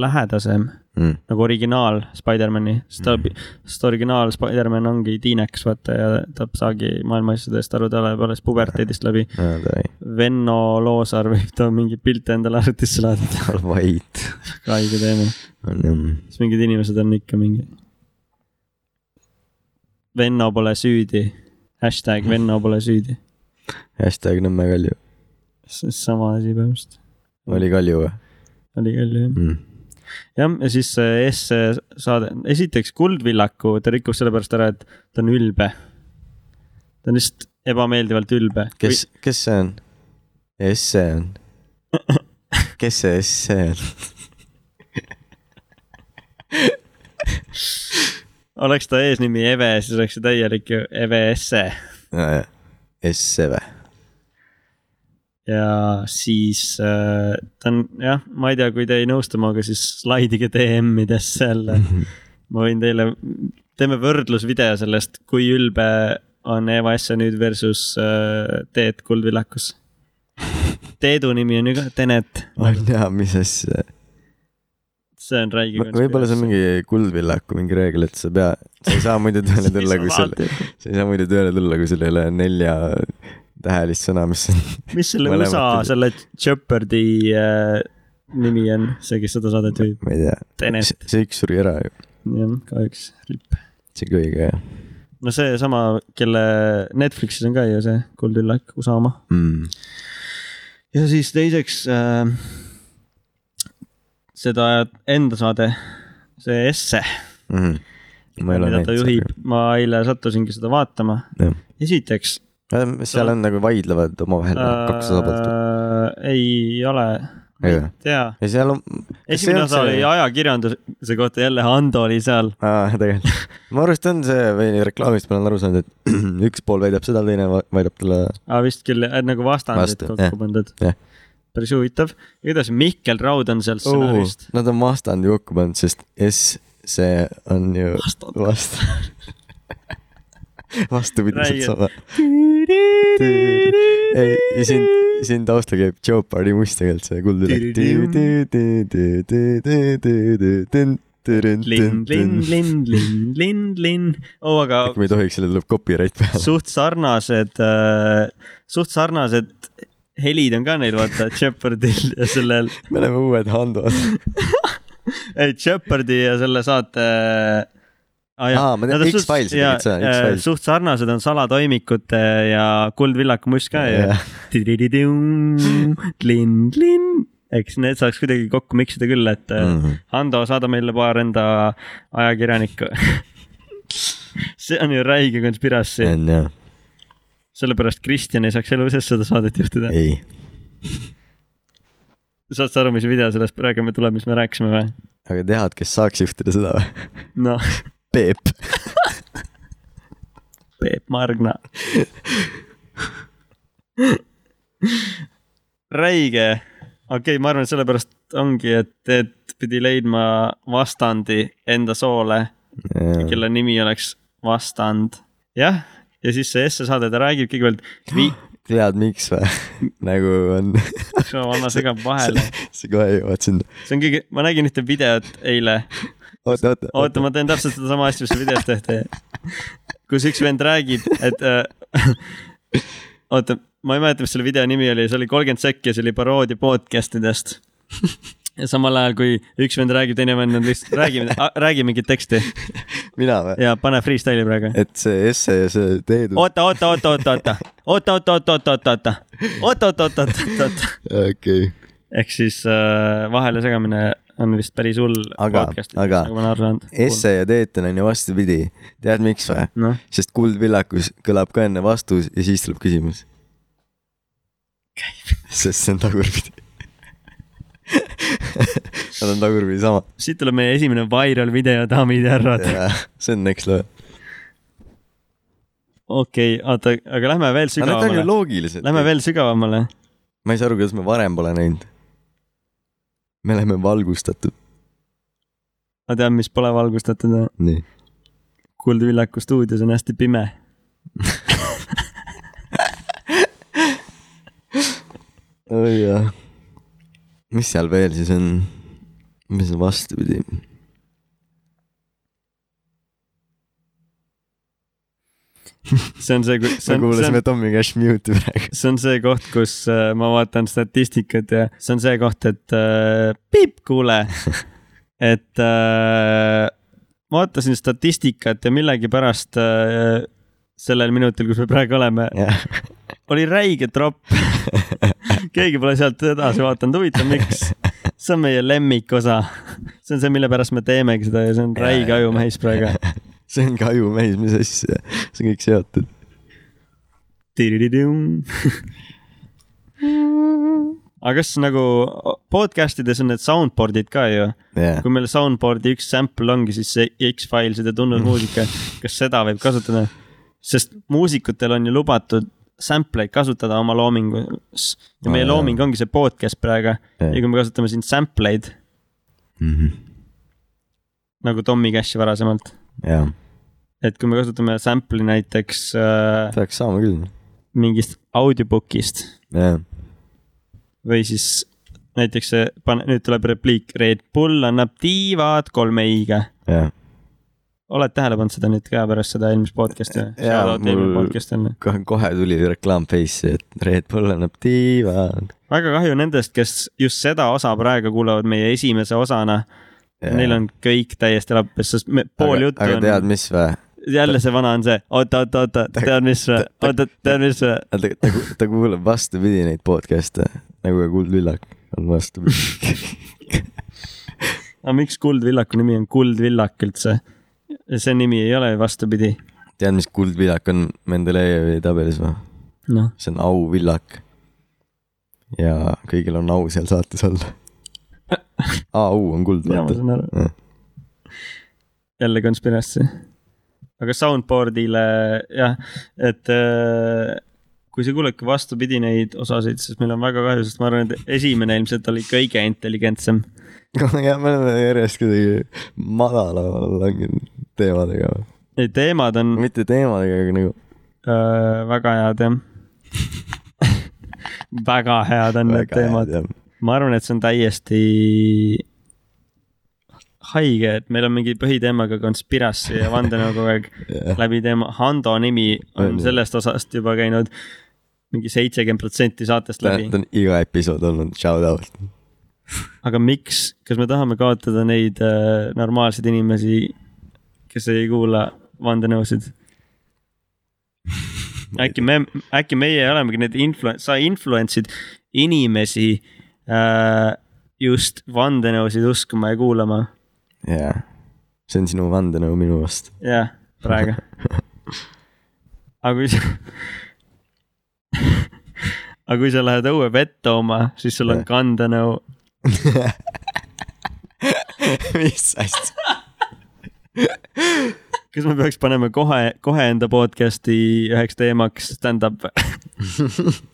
[SPEAKER 2] lähedasem
[SPEAKER 1] mm. .
[SPEAKER 2] nagu originaal Spider-mani , sest ta ,
[SPEAKER 1] Mhm.
[SPEAKER 2] sest originaal Spider-man ongi tiinekas , vaata ja ta saagi maailma asjadest aru , ta läheb alles puberteedist läbi .
[SPEAKER 1] jaa , ta ei ,
[SPEAKER 2] Venno Loosaar võib ta mingi pilte endale arvutisse laadida ,
[SPEAKER 1] vait .
[SPEAKER 2] väga haige teema .
[SPEAKER 1] on jah
[SPEAKER 2] siis mingid inimesed on ikka mingi . Venno pole süüdi , hashtag Venno pole süüdi ,
[SPEAKER 1] hashtag Nõmme Kalju ,
[SPEAKER 2] see on sama asi põhimõtteliselt .
[SPEAKER 1] oli Kalju või
[SPEAKER 2] oli küll jah .
[SPEAKER 1] mm. ?
[SPEAKER 2] jah , ja siis äh, see S-saade , esiteks Kuldvillaku ta rikub sellepärast ära , et ta on ülbe . ta on lihtsalt ebameeldivalt ülbe .
[SPEAKER 1] kes , kes see on ? Esse on . kes see Esse on ?
[SPEAKER 2] oleks ta eesnimi Eve , siis oleks see täielik ju Eve E. S-e
[SPEAKER 1] Esse või ?
[SPEAKER 2] ja siis äh, ta on jah , ma ei tea , kui te ei nõustu minuga , siis slaidige DM-idesse jälle . ma võin teile , teeme võrdlusvideo sellest , kui ülbe on Eva Esse nüüd versus äh, Teet Kuldvillakus . Teedu nimi on ju ka Tenet ,
[SPEAKER 1] on jaa , mis asja .
[SPEAKER 2] see on räige .
[SPEAKER 1] võib-olla see on mingi kuldvillaku mingi reegel , et sa pea , sa ei saa muidu tööle tulla , kui sul , sa ei saa muidu tööle tulla , kui sul ei ole nelja tähelist sõna , mis on .
[SPEAKER 2] mis selle
[SPEAKER 1] mõlemat
[SPEAKER 2] USA
[SPEAKER 1] ei-
[SPEAKER 2] selle Jeopardy äh, nimi on , see , kes seda saadet viib ,
[SPEAKER 1] ma ei tea
[SPEAKER 2] Tenet. ,
[SPEAKER 1] see üks suri ära ju ,
[SPEAKER 2] jah , kahjuks ripp .
[SPEAKER 1] see kõige jah
[SPEAKER 2] no seesama , kelle Netflixis on ka ju see Kuldüllak , USA oma .
[SPEAKER 1] mm. .
[SPEAKER 2] ja siis teiseks äh, seda enda saade , see Esse ,
[SPEAKER 1] Mm -hmm. ma ei ole
[SPEAKER 2] mida ta juhib
[SPEAKER 1] näinud ,
[SPEAKER 2] ma eile sattusingi seda vaatama .
[SPEAKER 1] seda .
[SPEAKER 2] esiteks
[SPEAKER 1] seal on nagu vaidlevad omavahel noh, kaks osapoolt .
[SPEAKER 2] äh, ei ole , ma ei
[SPEAKER 1] Ei või?
[SPEAKER 2] tea
[SPEAKER 1] ja seal on .
[SPEAKER 2] esimene osa oli ajakirjanduse kohta jälle Hando oli seal .
[SPEAKER 1] aa , tegelikult . ma arust on see või reklaamist ma olen aru saanud , et üks pool väidab seda , teine va- väidab talle
[SPEAKER 2] aga vist küll äh, nagu vastandid
[SPEAKER 1] Vastu,
[SPEAKER 2] kokku
[SPEAKER 1] jah. Oh.
[SPEAKER 2] pandud
[SPEAKER 1] Jah. .
[SPEAKER 2] päris huvitav . igatahes Mihkel Raud on seal stsenarist .
[SPEAKER 1] Nad on vastandi kokku pannud , sest S , see on ju
[SPEAKER 2] Vastand.
[SPEAKER 1] vast- . vastupidiselt
[SPEAKER 2] Räige.
[SPEAKER 1] sama . ei , ja siin , siin taustal käib Jeopardy must tegelikult see
[SPEAKER 2] linn , linn ,
[SPEAKER 1] kuldne .
[SPEAKER 2] linn , linn , linn , linn . oo , aga
[SPEAKER 1] me ei tohiks , sellele tuleb copyright peale .
[SPEAKER 2] suht sarnased , suht sarnased helid on ka neil , vaata , Jeopardil ja sellel ,
[SPEAKER 1] me oleme uued Handod .
[SPEAKER 2] ei Jeopardi ja selle saate . ah,
[SPEAKER 1] Aa, ma tean, X-Files tegid seda, X-Files.
[SPEAKER 2] äh, suht sarnased on salatoimikute ja Kuldvillaku must ka ja . linn , linn , eks need saaks kuidagi kokku miksida küll , et mm.
[SPEAKER 1] Mhm.
[SPEAKER 2] Hando , saada meile paar enda ajakirjanikku . see on ju räige konspiratsioon .
[SPEAKER 1] on jah ,
[SPEAKER 2] sellepärast Kristjan ei saaks elu sees seda saadet juhtida .
[SPEAKER 1] ei ,
[SPEAKER 2] saad sa aru , mis video sellest räägime tuleb , mis me rääkisime või ?
[SPEAKER 1] aga tead , kes saaks juhtida seda või ?
[SPEAKER 2] noh ,
[SPEAKER 1] Peep .
[SPEAKER 2] Peep Margna . räige , okei okay, , ma arvan , et sellepärast ongi , et Ted pidi leidma vastandi enda soole ,
[SPEAKER 1] Mm.
[SPEAKER 2] kelle nimi oleks vastand . jah , ja siis see esse saade , ta räägib kõigepealt ,
[SPEAKER 1] tead , miks või ? nagu on ,
[SPEAKER 2] anna segab vahele ,
[SPEAKER 1] sa kohe jõuad sinna .
[SPEAKER 2] see on kõige , ma nägin ühte videot eile
[SPEAKER 1] oota , oota ,
[SPEAKER 2] oota , ma teen täpselt sedasama asja , mis sa videos tehti . kus üks vend räägib , et äh, oota , ma ei mäleta , mis selle video nimi oli , see oli kolmkümmend sekki ja see oli paroodia podcast idest . ja samal ajal , kui üks vend räägib , teine vend on lihtsalt , räägime , räägi mingit teksti
[SPEAKER 1] mina või ?
[SPEAKER 2] ja pane freestyle'i praegu .
[SPEAKER 1] et see esse ja see teedus Ot... .
[SPEAKER 2] oota , oota , oota , oota , oota , oota , oota , oota , oota , oota , oota , oota , oota , oota , oota , oota .
[SPEAKER 1] okei okay. ,
[SPEAKER 2] ehk siis äh, vahele segamine on vist päris hull .
[SPEAKER 1] Aga- aga-
[SPEAKER 2] nagu ma olen aru saanud .
[SPEAKER 1] esse ja teetan on ju vastupidi . tead , miks või ?
[SPEAKER 2] noh ,
[SPEAKER 1] sest kuldvillakus kõlab ka enne vastus ja siis tuleb küsimus . sest see on tagurpidi . Nad on tagurpidi sama .
[SPEAKER 2] siit tuleb meie esimene viral video , daamid ja härrad .
[SPEAKER 1] see on next level .
[SPEAKER 2] okei , oota , aga lähme veel
[SPEAKER 1] aga need on ju
[SPEAKER 2] sügavamale .
[SPEAKER 1] loogilised .
[SPEAKER 2] Lähme veel sügavamale .
[SPEAKER 1] ma ei saa aru , kuidas me varem pole näinud . me oleme valgustatud .
[SPEAKER 2] ma tean , mis pole valgustatud .
[SPEAKER 1] nii .
[SPEAKER 2] kuldvillaku stuudios on hästi pime .
[SPEAKER 1] oi jah . mis seal veel siis on ? mis on vastupidi ?
[SPEAKER 2] see on see , see
[SPEAKER 1] me
[SPEAKER 2] on , see on
[SPEAKER 1] kuulasime , Tommy Cash Mute'i praegu .
[SPEAKER 2] see on see koht , kus äh, ma vaatan statistikat ja see on see koht , et äh, piip , kuule . et äh, ma vaatasin statistikat ja millegipärast äh, sellel minutil , kus me praegu oleme ,
[SPEAKER 1] jah ,
[SPEAKER 2] oli räige tropp . keegi pole sealt edasi vaadanud , huvitav , miks ? see on meie lemmikosa . see on see , mille pärast me teemegi seda ja see on räige ajumehis praegu .
[SPEAKER 1] see on ka ajumehis , mis asja , see on kõik seotud .
[SPEAKER 2] aga kas nagu podcast ides on need soundboard'id ka ju ?
[SPEAKER 1] jah ,
[SPEAKER 2] kui meil soundboard'i üks sample ongi siis see X-Fileside tunnusmuusika , kas seda võib kasutada ? sest muusikutel on ju lubatud sample'id kasutada oma loomingus ja meie
[SPEAKER 1] Aa, jaa.
[SPEAKER 2] looming ongi see podcast praegu ja kui me kasutame siin sample eid
[SPEAKER 1] Mhm.
[SPEAKER 2] nagu Tommy Cashi varasemalt ,
[SPEAKER 1] jah ,
[SPEAKER 2] et kui me kasutame sample'i näiteks äh,
[SPEAKER 1] peaks saama küll .
[SPEAKER 2] mingist audiobook'ist
[SPEAKER 1] jah ,
[SPEAKER 2] või siis näiteks see , pane , nüüd tuleb repliik , Red Bull annab tiivad kolme i-ga .
[SPEAKER 1] jah .
[SPEAKER 2] oled tähele pannud seda nüüd ka pärast seda eelmist podcast'i või ?
[SPEAKER 1] Jaa, mul-
[SPEAKER 2] Mul...
[SPEAKER 1] kohe tuli reklaam Face'i , et Red Bull annab tiivad .
[SPEAKER 2] väga kahju nendest , kes just seda osa praegu kuulavad meie esimese osana . Neil on kõik täiesti lappes , sest me, pool juttu
[SPEAKER 1] aga, aga tead ,
[SPEAKER 2] on ,
[SPEAKER 1] mis või ?
[SPEAKER 2] jälle see vana on see oot , oot , oot , tead mis või , oot , tead mis või .
[SPEAKER 1] ta , ta , ta kuulab vastupidi neid podcast'e , nagu ka Kuldvillak on vastupidi .
[SPEAKER 2] aga miks Kuldvillaku nimi on Kuldvillak üldse ? see nimi ei ole ju vastupidi ,
[SPEAKER 1] tead , mis Kuldvillak on Mendelejevi tabelis või ?
[SPEAKER 2] noh .
[SPEAKER 1] see on auvillak . ja kõigil on au seal saates olla . au on kuld ,
[SPEAKER 2] ja ma
[SPEAKER 1] vaata .
[SPEAKER 2] saan aru
[SPEAKER 1] Jah. .
[SPEAKER 2] jälle konspiratsioon . aga soundboard'ile jah , et äh, kui sa kuuledki vastupidi neid osasid , siis meil on väga kahju , sest ma arvan , et esimene ilmselt oli kõige intelligentsem .
[SPEAKER 1] jah , me oleme järjest kuidagi madalamale langenud teemadega ,
[SPEAKER 2] teemad on
[SPEAKER 1] mitte teemadega , aga nagu
[SPEAKER 2] öö, väga head jah . väga head on need teemad .. ma arvan , et see on täiesti haige , et meil on mingi põhiteemaga konspirassi ja vandenõu kogu aeg läbi teema . Hando nimi on
[SPEAKER 1] Onju.
[SPEAKER 2] sellest osast juba käinud mingi seitsekümmend protsenti saatest
[SPEAKER 1] ta
[SPEAKER 2] läbi
[SPEAKER 1] ta on iga episood olnud shout out .
[SPEAKER 2] aga miks , kas me tahame kaotada neid äh, normaalseid inimesi , kes ei kuula vandenõusid ? äkki me , äkki meie olemegi need influ- , sa influence'id inimesi äh, just vandenõusid uskuma ja kuulama ,
[SPEAKER 1] jaa , see on sinu vandenõu minu vastu .
[SPEAKER 2] jah , praegu . aga kui sa aga kui sa lähed õue vett tooma , siis sul on
[SPEAKER 1] Jah.
[SPEAKER 2] kandenõu
[SPEAKER 1] mis asja ?
[SPEAKER 2] kas me peaks panema kohe , kohe enda podcast'i üheks teemaks stand-up ?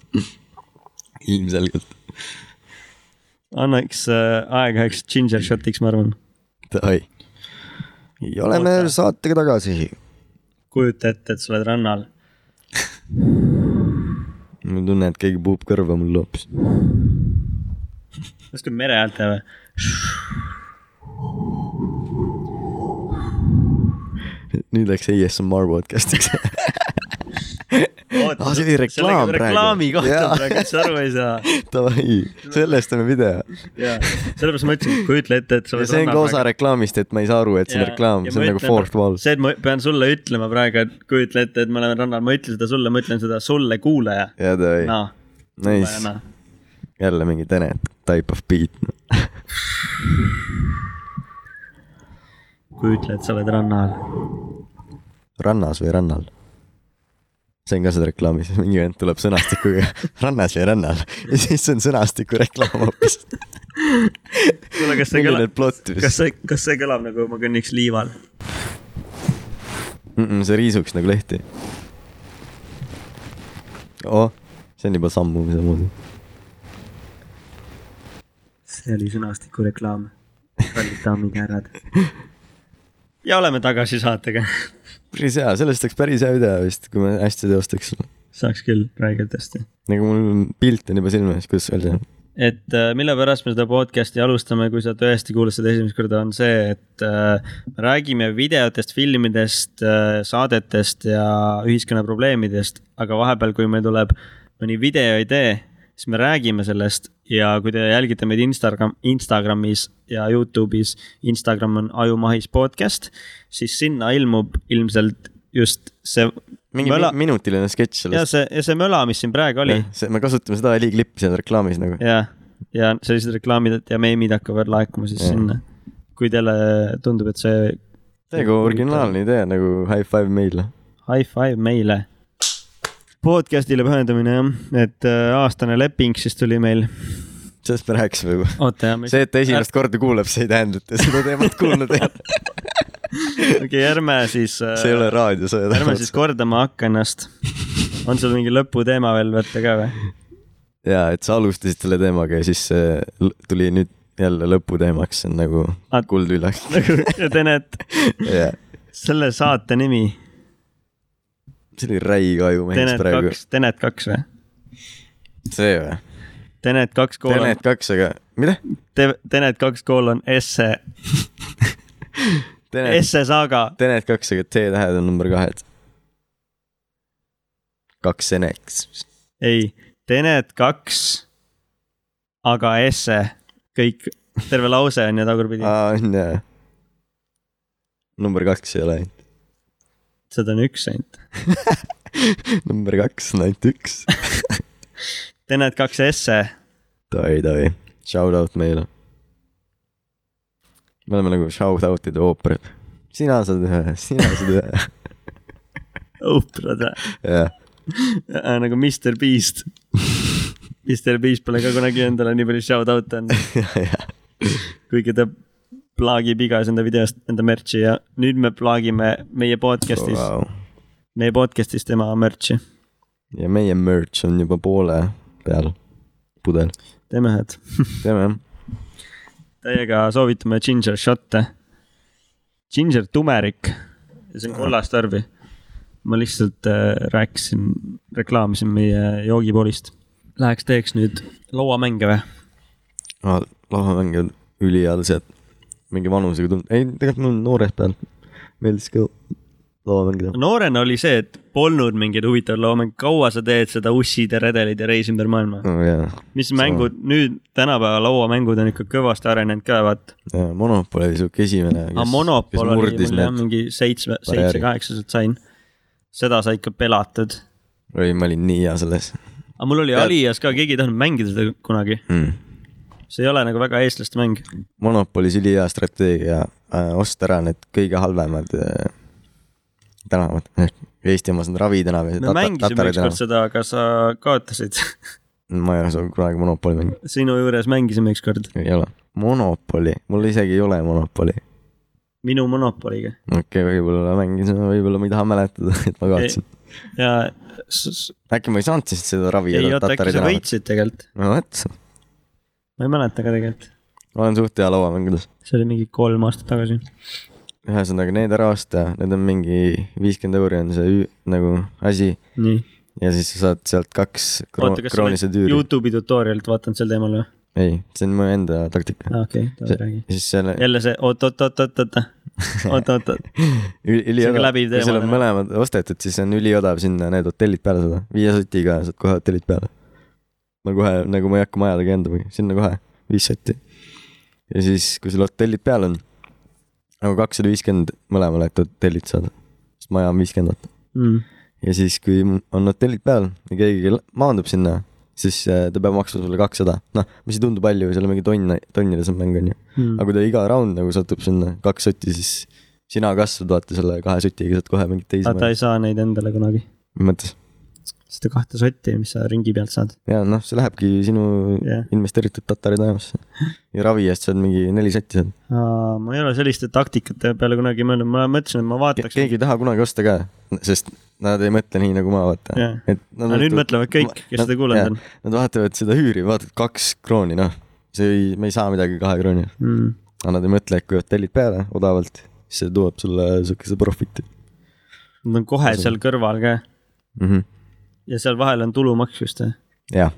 [SPEAKER 1] ilmselgelt ,
[SPEAKER 2] annaks äh, aega üheks ginger shot'iks , ma arvan .
[SPEAKER 1] davai . ja oleme
[SPEAKER 2] Oota.
[SPEAKER 1] saatega tagasi .
[SPEAKER 2] kujuta ette , et sa oled rannal .
[SPEAKER 1] mul on tunne , et keegi puhub kõrva mul hoopis .
[SPEAKER 2] kas küll mere häält teha või ?
[SPEAKER 1] nüüd läks ASMR podcast'iks . Aa, Ah, see oli reklaam praegu.
[SPEAKER 2] nagu reklaami kohta
[SPEAKER 1] Jaa.
[SPEAKER 2] praegu , sa aru ei saa .
[SPEAKER 1] davai , sellest teeme video .
[SPEAKER 2] sellepärast ma ütlesin , kujutle ette , et sa
[SPEAKER 1] ja
[SPEAKER 2] oled
[SPEAKER 1] see on ka osa
[SPEAKER 2] rannal .
[SPEAKER 1] reklaamist , et ma ei saa aru , et see on
[SPEAKER 2] Jaa,
[SPEAKER 1] reklaam ,
[SPEAKER 2] ja
[SPEAKER 1] see on
[SPEAKER 2] ma
[SPEAKER 1] nagu
[SPEAKER 2] ütlen-
[SPEAKER 1] fourth wall .
[SPEAKER 2] see , et ma pean sulle ütlema praegu , et kujutle ette , et ma olen rannal , ma ei ütle seda sulle , ma ütlen seda sulle , kuulaja .
[SPEAKER 1] jaa , davai ,
[SPEAKER 2] naa ,
[SPEAKER 1] nice ,
[SPEAKER 2] kuulajana .
[SPEAKER 1] jälle mingi Tenet type of beat .
[SPEAKER 2] kujutle , et sa oled rannal .
[SPEAKER 1] rannas või rannal ? see on ka seal reklaamis , mingi vend tuleb sõnastikuga rannas või rannal ja siis see on sõnastiku reklaam hoopis .
[SPEAKER 2] kuule , kas see kõlab
[SPEAKER 1] milline , plott
[SPEAKER 2] kas
[SPEAKER 1] vist ?
[SPEAKER 2] see , kas see kõlab nagu ma kõnniks liival ?
[SPEAKER 1] see riisuks nagu lehti . oh , see on juba sammumise moodi .
[SPEAKER 2] see oli sõnastiku reklaam . kallid daamid ja härrad . ja oleme tagasi saatega .
[SPEAKER 1] päris hea , sellest oleks päris hea video vist , kui me hästi teostaks .
[SPEAKER 2] saaks küll , räägib tõesti .
[SPEAKER 1] nagu mul on pilt on juba silme ees , kuidas öelda .
[SPEAKER 2] et äh, mille pärast me seda podcast'i alustame , kui sa tõesti kuulad seda esimest korda , on see , et äh, me räägime videotest , filmidest , saadetest ja ühiskonna probleemidest , aga vahepeal , kui meil tuleb mõni videoidee , siis me räägime sellest ja kui te jälgite meid Instagram , Instagramis ja Youtube'is , Instagram on Ajumahis podcast , siis sinna ilmub ilmselt just see
[SPEAKER 1] mingi
[SPEAKER 2] Möla-
[SPEAKER 1] Möla... minutiline
[SPEAKER 2] ja
[SPEAKER 1] sketš sellest .
[SPEAKER 2] see , ja see möla , mis siin praegu oli
[SPEAKER 1] see , me kasutame seda heliklippi seal reklaamis nagu .
[SPEAKER 2] ja , ja sellised reklaamid ja meemid hakkavad laekuma siis
[SPEAKER 1] Jah.
[SPEAKER 2] sinna . kui teile tundub , et see
[SPEAKER 1] täiega originaalne idee nagu high five meile .
[SPEAKER 2] high five meile . podcast'ile pühendumine jah , et äh, aastane leping siis tuli meil .
[SPEAKER 1] sellest me rääkisime juba .
[SPEAKER 2] oota jah ,
[SPEAKER 1] see , et ta esimest korda kuulab , see ei tähenda , et ta seda teemat kuulnud ei ole .
[SPEAKER 2] okei , ärme siis äh, ,
[SPEAKER 1] see ei ole raadiosõja
[SPEAKER 2] ärme siis . kordama hakka ennast . on sul mingi lõputeema veel võtta ka või ?
[SPEAKER 1] ja , et sa alustasid selle teemaga ja siis see l- tuli nüüd jälle lõputeemaks , see on nagu
[SPEAKER 2] Ah.
[SPEAKER 1] kuldvillak .
[SPEAKER 2] Tenet ,
[SPEAKER 1] jah ,
[SPEAKER 2] selle saate nimi ,
[SPEAKER 1] see oli räige aju mehis
[SPEAKER 2] Tenet
[SPEAKER 1] praegu .
[SPEAKER 2] kaks , Tenet kaks või ?
[SPEAKER 1] see või ?
[SPEAKER 2] Tenet kaks kool on
[SPEAKER 1] Tenet , kaks , aga mida ?
[SPEAKER 2] Tenet kaks kool on esse ,
[SPEAKER 1] Tenet ,
[SPEAKER 2] esse E saaga
[SPEAKER 1] Tenet kaks , aga T-tähed on number kahed . kaks Seneks .
[SPEAKER 2] ei , Tenet kaks , aga esse , kõik , terve lause on ju tagurpidi ,
[SPEAKER 1] aa , on jah . number kaks ei ole ainult .
[SPEAKER 2] seda on üks ainult .
[SPEAKER 1] number kaks on ainult üks .
[SPEAKER 2] Tenet kaks esse ,
[SPEAKER 1] davai , davai . Shout out meile . me oleme nagu shout out'ide ooperid . sina saad ühe , sina saad ühe .
[SPEAKER 2] õhkrad või ,
[SPEAKER 1] jah ,
[SPEAKER 2] Oh, nagu Mr Beast . Mr Beast pole ka kunagi endale nii palju shout out'e andnud ,
[SPEAKER 1] jah .
[SPEAKER 2] kuigi ta plaagib igas enda videost enda merch'i ja nüüd me plaagime meie podcast'is , meie podcast'is tema merch'i .
[SPEAKER 1] ja meie merch on juba poole peal , pudel .
[SPEAKER 2] teeme ühed .
[SPEAKER 1] teeme jah .
[SPEAKER 2] Teiega soovitame ginger shot'e . Ginger tumerik ja
[SPEAKER 1] Ah.
[SPEAKER 2] see on kollast värvi . ma lihtsalt äh, rääkisin , reklaamisin meie joogipoolist . Läheks teeks nüüd lauamänge või ?
[SPEAKER 1] aa , lauamäng on ülihead asjad . mingi vanusega tund- , ei tegelikult mul noorest pealt meeldis ka lauamäng teha .
[SPEAKER 2] noorena oli see , et polnud mingeid huvitavaid laomänge , kaua sa teed seda ussid ja redelid ja reisi ümber maailma ?
[SPEAKER 1] Oh, jaa ,
[SPEAKER 2] mis mängud nüüd tänapäeva lauamängud on ikka kõvasti arenenud ka , vaata .
[SPEAKER 1] jaa , Monopol oli siuke esimene ,
[SPEAKER 2] aga
[SPEAKER 1] kes , kes
[SPEAKER 2] Monopol oli
[SPEAKER 1] murdis
[SPEAKER 2] mul jah
[SPEAKER 1] need ,
[SPEAKER 2] mingi seitsme ,
[SPEAKER 1] barjääri.
[SPEAKER 2] seitse-kaheksaselt sain . seda sai ikka pelatud .
[SPEAKER 1] oi , ma olin nii hea selles
[SPEAKER 2] aga mul oli
[SPEAKER 1] Tead-
[SPEAKER 2] Alias ka , keegi ei tahtnud mängida seda kunagi .
[SPEAKER 1] mm. .
[SPEAKER 2] see ei ole nagu väga eestlaste mäng .
[SPEAKER 1] Monopolis ülihea strateegia äh, , osta ära need kõige halvemad äh, tänavad . Eesti omas on Ravi tänav ja
[SPEAKER 2] me
[SPEAKER 1] Tata-
[SPEAKER 2] mängisime
[SPEAKER 1] Tatari
[SPEAKER 2] ükskord
[SPEAKER 1] tänav .
[SPEAKER 2] seda , aga sa kaotasid .
[SPEAKER 1] ma ei oska kunagi Monopoli mängida ,
[SPEAKER 2] sinu juures mängisime ükskord
[SPEAKER 1] ei ole . Monopoli , mul isegi ei ole Monopoli .
[SPEAKER 2] minu Monopoliga
[SPEAKER 1] okei okay, , võib-olla mängisime , võib-olla ma ei taha mäletada , et ma kaotasin .
[SPEAKER 2] ja s- s-
[SPEAKER 1] äkki ma ei saanud siis seda Ravi
[SPEAKER 2] ei
[SPEAKER 1] ja
[SPEAKER 2] oota , äkki
[SPEAKER 1] Tatari
[SPEAKER 2] sa
[SPEAKER 1] tänavat .
[SPEAKER 2] võitsid tegelikult ?
[SPEAKER 1] no vot ,
[SPEAKER 2] ma ei mäleta ka tegelikult ,
[SPEAKER 1] olen suht hea lauamängudes .
[SPEAKER 2] see oli mingi kolm aastat tagasi .
[SPEAKER 1] ühesõnaga need ära osta , need on mingi viiskümmend euri on see ü- nagu asi
[SPEAKER 2] nii ,
[SPEAKER 1] ja siis sa saad sealt kaks kroon-
[SPEAKER 2] oota , kas sa
[SPEAKER 1] kroonilise
[SPEAKER 2] oled
[SPEAKER 1] tüüri .
[SPEAKER 2] Youtube'i tutorial'it vaadanud sel teemal või ?
[SPEAKER 1] ei , see on mu enda taktika .
[SPEAKER 2] aa , okei , ta ei räägi .
[SPEAKER 1] siis seal
[SPEAKER 2] jälle see oot-oot-oot-oot-oot , oot-oot-oot ,
[SPEAKER 1] üli ,
[SPEAKER 2] see on ka
[SPEAKER 1] üliodav ,
[SPEAKER 2] läbiv
[SPEAKER 1] kui
[SPEAKER 2] teema
[SPEAKER 1] sul on
[SPEAKER 2] täna.
[SPEAKER 1] mõlemad ostetud , siis on üliodav sinna need hotellid peale saada . viie sotiga saad kohe hotellid peale . ma kohe , nagu ma ei hakka majadagi enda , sinna kohe , viis sotti . ja siis , kui sul hotellid peal on , nagu kakssada viiskümmend mõlemale , et hotellid saada . sest maja on viiskümmend .
[SPEAKER 2] Hmm,
[SPEAKER 1] ja siis , kui on hotellid peal ja keegi maandub sinna , siis äh, ta peab maksma sulle kakssada . noh , mis ei tundu palju , seal on mingi tonn , tonnides on mäng , onju .
[SPEAKER 2] hmm.
[SPEAKER 1] aga kui ta iga round nagu satub sinna kaks sotti , siis sina kasvad , vaata selle kahe sotiga saad kohe mingit teisi
[SPEAKER 2] aga ta ei saa neid endale kunagi ,
[SPEAKER 1] mõttes .
[SPEAKER 2] seda kahte sotti , mis sa ringi pealt saad .
[SPEAKER 1] ja noh , see lähebki sinu
[SPEAKER 2] Jah.
[SPEAKER 1] yeah. investeeritud Tatari tänavasse . ja ravi eest saad mingi neli sotti seal .
[SPEAKER 2] ma ei ole selliste taktikate peale kunagi mõelnud , ma mõtlesin , et ma vaataks .
[SPEAKER 1] keegi ei taha kunagi osta ka , sest nad ei mõtle nii nagu ma , vaata
[SPEAKER 2] Jah.
[SPEAKER 1] et nad
[SPEAKER 2] aga nüüd
[SPEAKER 1] mõtlevad-
[SPEAKER 2] mõtlevad kõik , kes
[SPEAKER 1] Nad-
[SPEAKER 2] seda kuulanud on
[SPEAKER 1] jah. Nad vaatavad seda üüri , vaatad kaks krooni , noh , see ei , me ei saa midagi kahe krooni .
[SPEAKER 2] mm. .
[SPEAKER 1] aga nad ei mõtle , et kui hotellid peale odavalt , siis see tuleb sulle siukese profit'i
[SPEAKER 2] Nad on kohe seal kõrval ka
[SPEAKER 1] mm . -hmm.
[SPEAKER 2] ja seal vahel on tulumaks just või ?
[SPEAKER 1] jah ,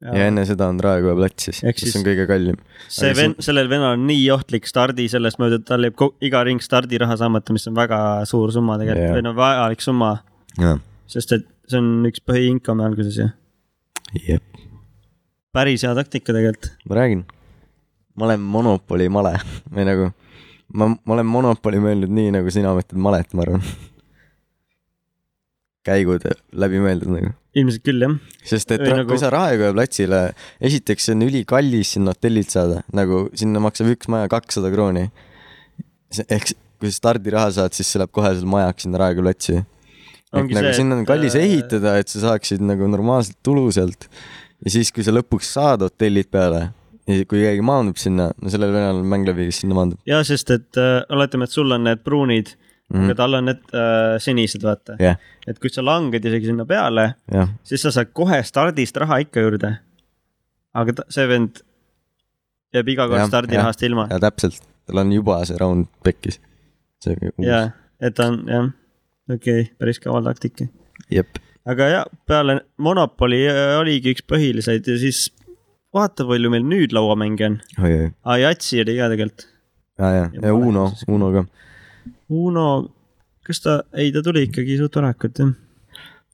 [SPEAKER 1] ja enne seda on Raekoja plats siis ,
[SPEAKER 2] Ehk
[SPEAKER 1] mis
[SPEAKER 2] siis-
[SPEAKER 1] on kõige kallim .
[SPEAKER 2] see
[SPEAKER 1] aga see-
[SPEAKER 2] vend , sellel vennal on nii ohtlik stardi sellest mööda , et tal jääb ko- iga ring stardiraha saamata , mis on väga suur summa tegelikult
[SPEAKER 1] Jaa.
[SPEAKER 2] või no vajalik summa ,
[SPEAKER 1] jah ,
[SPEAKER 2] sest et see on üks põhiinkome alguses ju .
[SPEAKER 1] jep .
[SPEAKER 2] päris hea taktika tegelikult .
[SPEAKER 1] ma räägin , ma olen monopoli male või nagu ma , ma olen monopoli mõelnud nii , nagu sina mõtled malet , ma arvan . käigud läbimõeldud nagu ,
[SPEAKER 2] ilmselt küll jah ,
[SPEAKER 1] sest et
[SPEAKER 2] Ei,
[SPEAKER 1] ra-
[SPEAKER 2] nagu-
[SPEAKER 1] kui sa Raekoja platsile , esiteks see on ülikallis sinna hotellilt saada , nagu sinna maksab üks maja kakssada krooni . ehk s- kui sa stardiraha saad , siis see läheb kohe sul majaks sinna Raekoja platsi . et
[SPEAKER 2] Ongi
[SPEAKER 1] nagu
[SPEAKER 2] see,
[SPEAKER 1] sinna on
[SPEAKER 2] et,
[SPEAKER 1] kallis
[SPEAKER 2] äh,
[SPEAKER 1] ehitada , et sa saaksid nagu normaalselt tulu sealt . ja siis , kui sa lõpuks saad hotellid peale ja kui keegi maandub sinna , no sellel venelal on mäng läbi , kes sinna maandub .
[SPEAKER 2] ja sest et äh, oletame , et sul on need pruunid mm. ,
[SPEAKER 1] Mhm.
[SPEAKER 2] aga tal on need äh, sinised , vaata
[SPEAKER 1] jah ,
[SPEAKER 2] et kui sa langed isegi sinna peale ,
[SPEAKER 1] jah ,
[SPEAKER 2] siis sa saad kohe stardist raha ikka juurde . aga ta, see vend jääb iga kord
[SPEAKER 1] Jah,
[SPEAKER 2] stardirahast ilma .
[SPEAKER 1] ja täpselt , tal on juba see round pekkis . see uus ,
[SPEAKER 2] jaa , et ta on jah , okei okay, , päris kaval taktika .
[SPEAKER 1] jep .
[SPEAKER 2] aga jah , peale Monopoli äh, oligi üks põhiliseid ja siis vaata , palju meil nüüd lauamänge on .
[SPEAKER 1] oi-oi ,
[SPEAKER 2] aa , Jatsi oli ka tegelikult .
[SPEAKER 1] ja , ja ,
[SPEAKER 2] Ja ma
[SPEAKER 1] ja Uno
[SPEAKER 2] olen siis- ,
[SPEAKER 1] Uno ka
[SPEAKER 2] Uno , kas ta , ei , ta tuli ikkagi suht varakult jah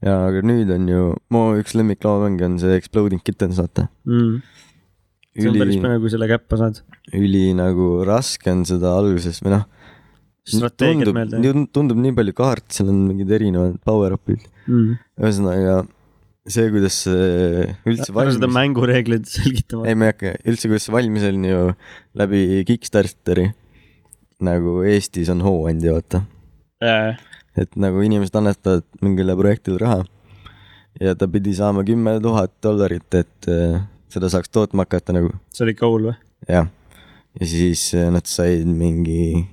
[SPEAKER 1] ja aga nüüd on ju , mu üks lemmiklauamänge on see Exploding Kittens , vaata .
[SPEAKER 2] mm. . see on päris
[SPEAKER 1] üli ,
[SPEAKER 2] põnev , kui selle käppa saad .
[SPEAKER 1] üli nagu raske on seda alguses või noh ,
[SPEAKER 2] strateegiat
[SPEAKER 1] tundub
[SPEAKER 2] meelde ,
[SPEAKER 1] tundub nii palju kaarte , seal on mingid erinevad power-up'id .
[SPEAKER 2] mm. .
[SPEAKER 1] ühesõnaga see , kuidas see üldse
[SPEAKER 2] ära seda
[SPEAKER 1] valmis ,
[SPEAKER 2] mängureegleid selgitama .
[SPEAKER 1] ei ma ei hakka , üldse kuidas see valmis on ju läbi Kickstarteri . nagu Eestis on hooandja , vaata , et nagu inimesed annetavad mingile projektile raha . ja ta pidi saama kümme tuhat dollarit , et eh, seda saaks tootma hakata nagu ,
[SPEAKER 2] see oli Goal või ?
[SPEAKER 1] jah . ja siis eh, nad said mingi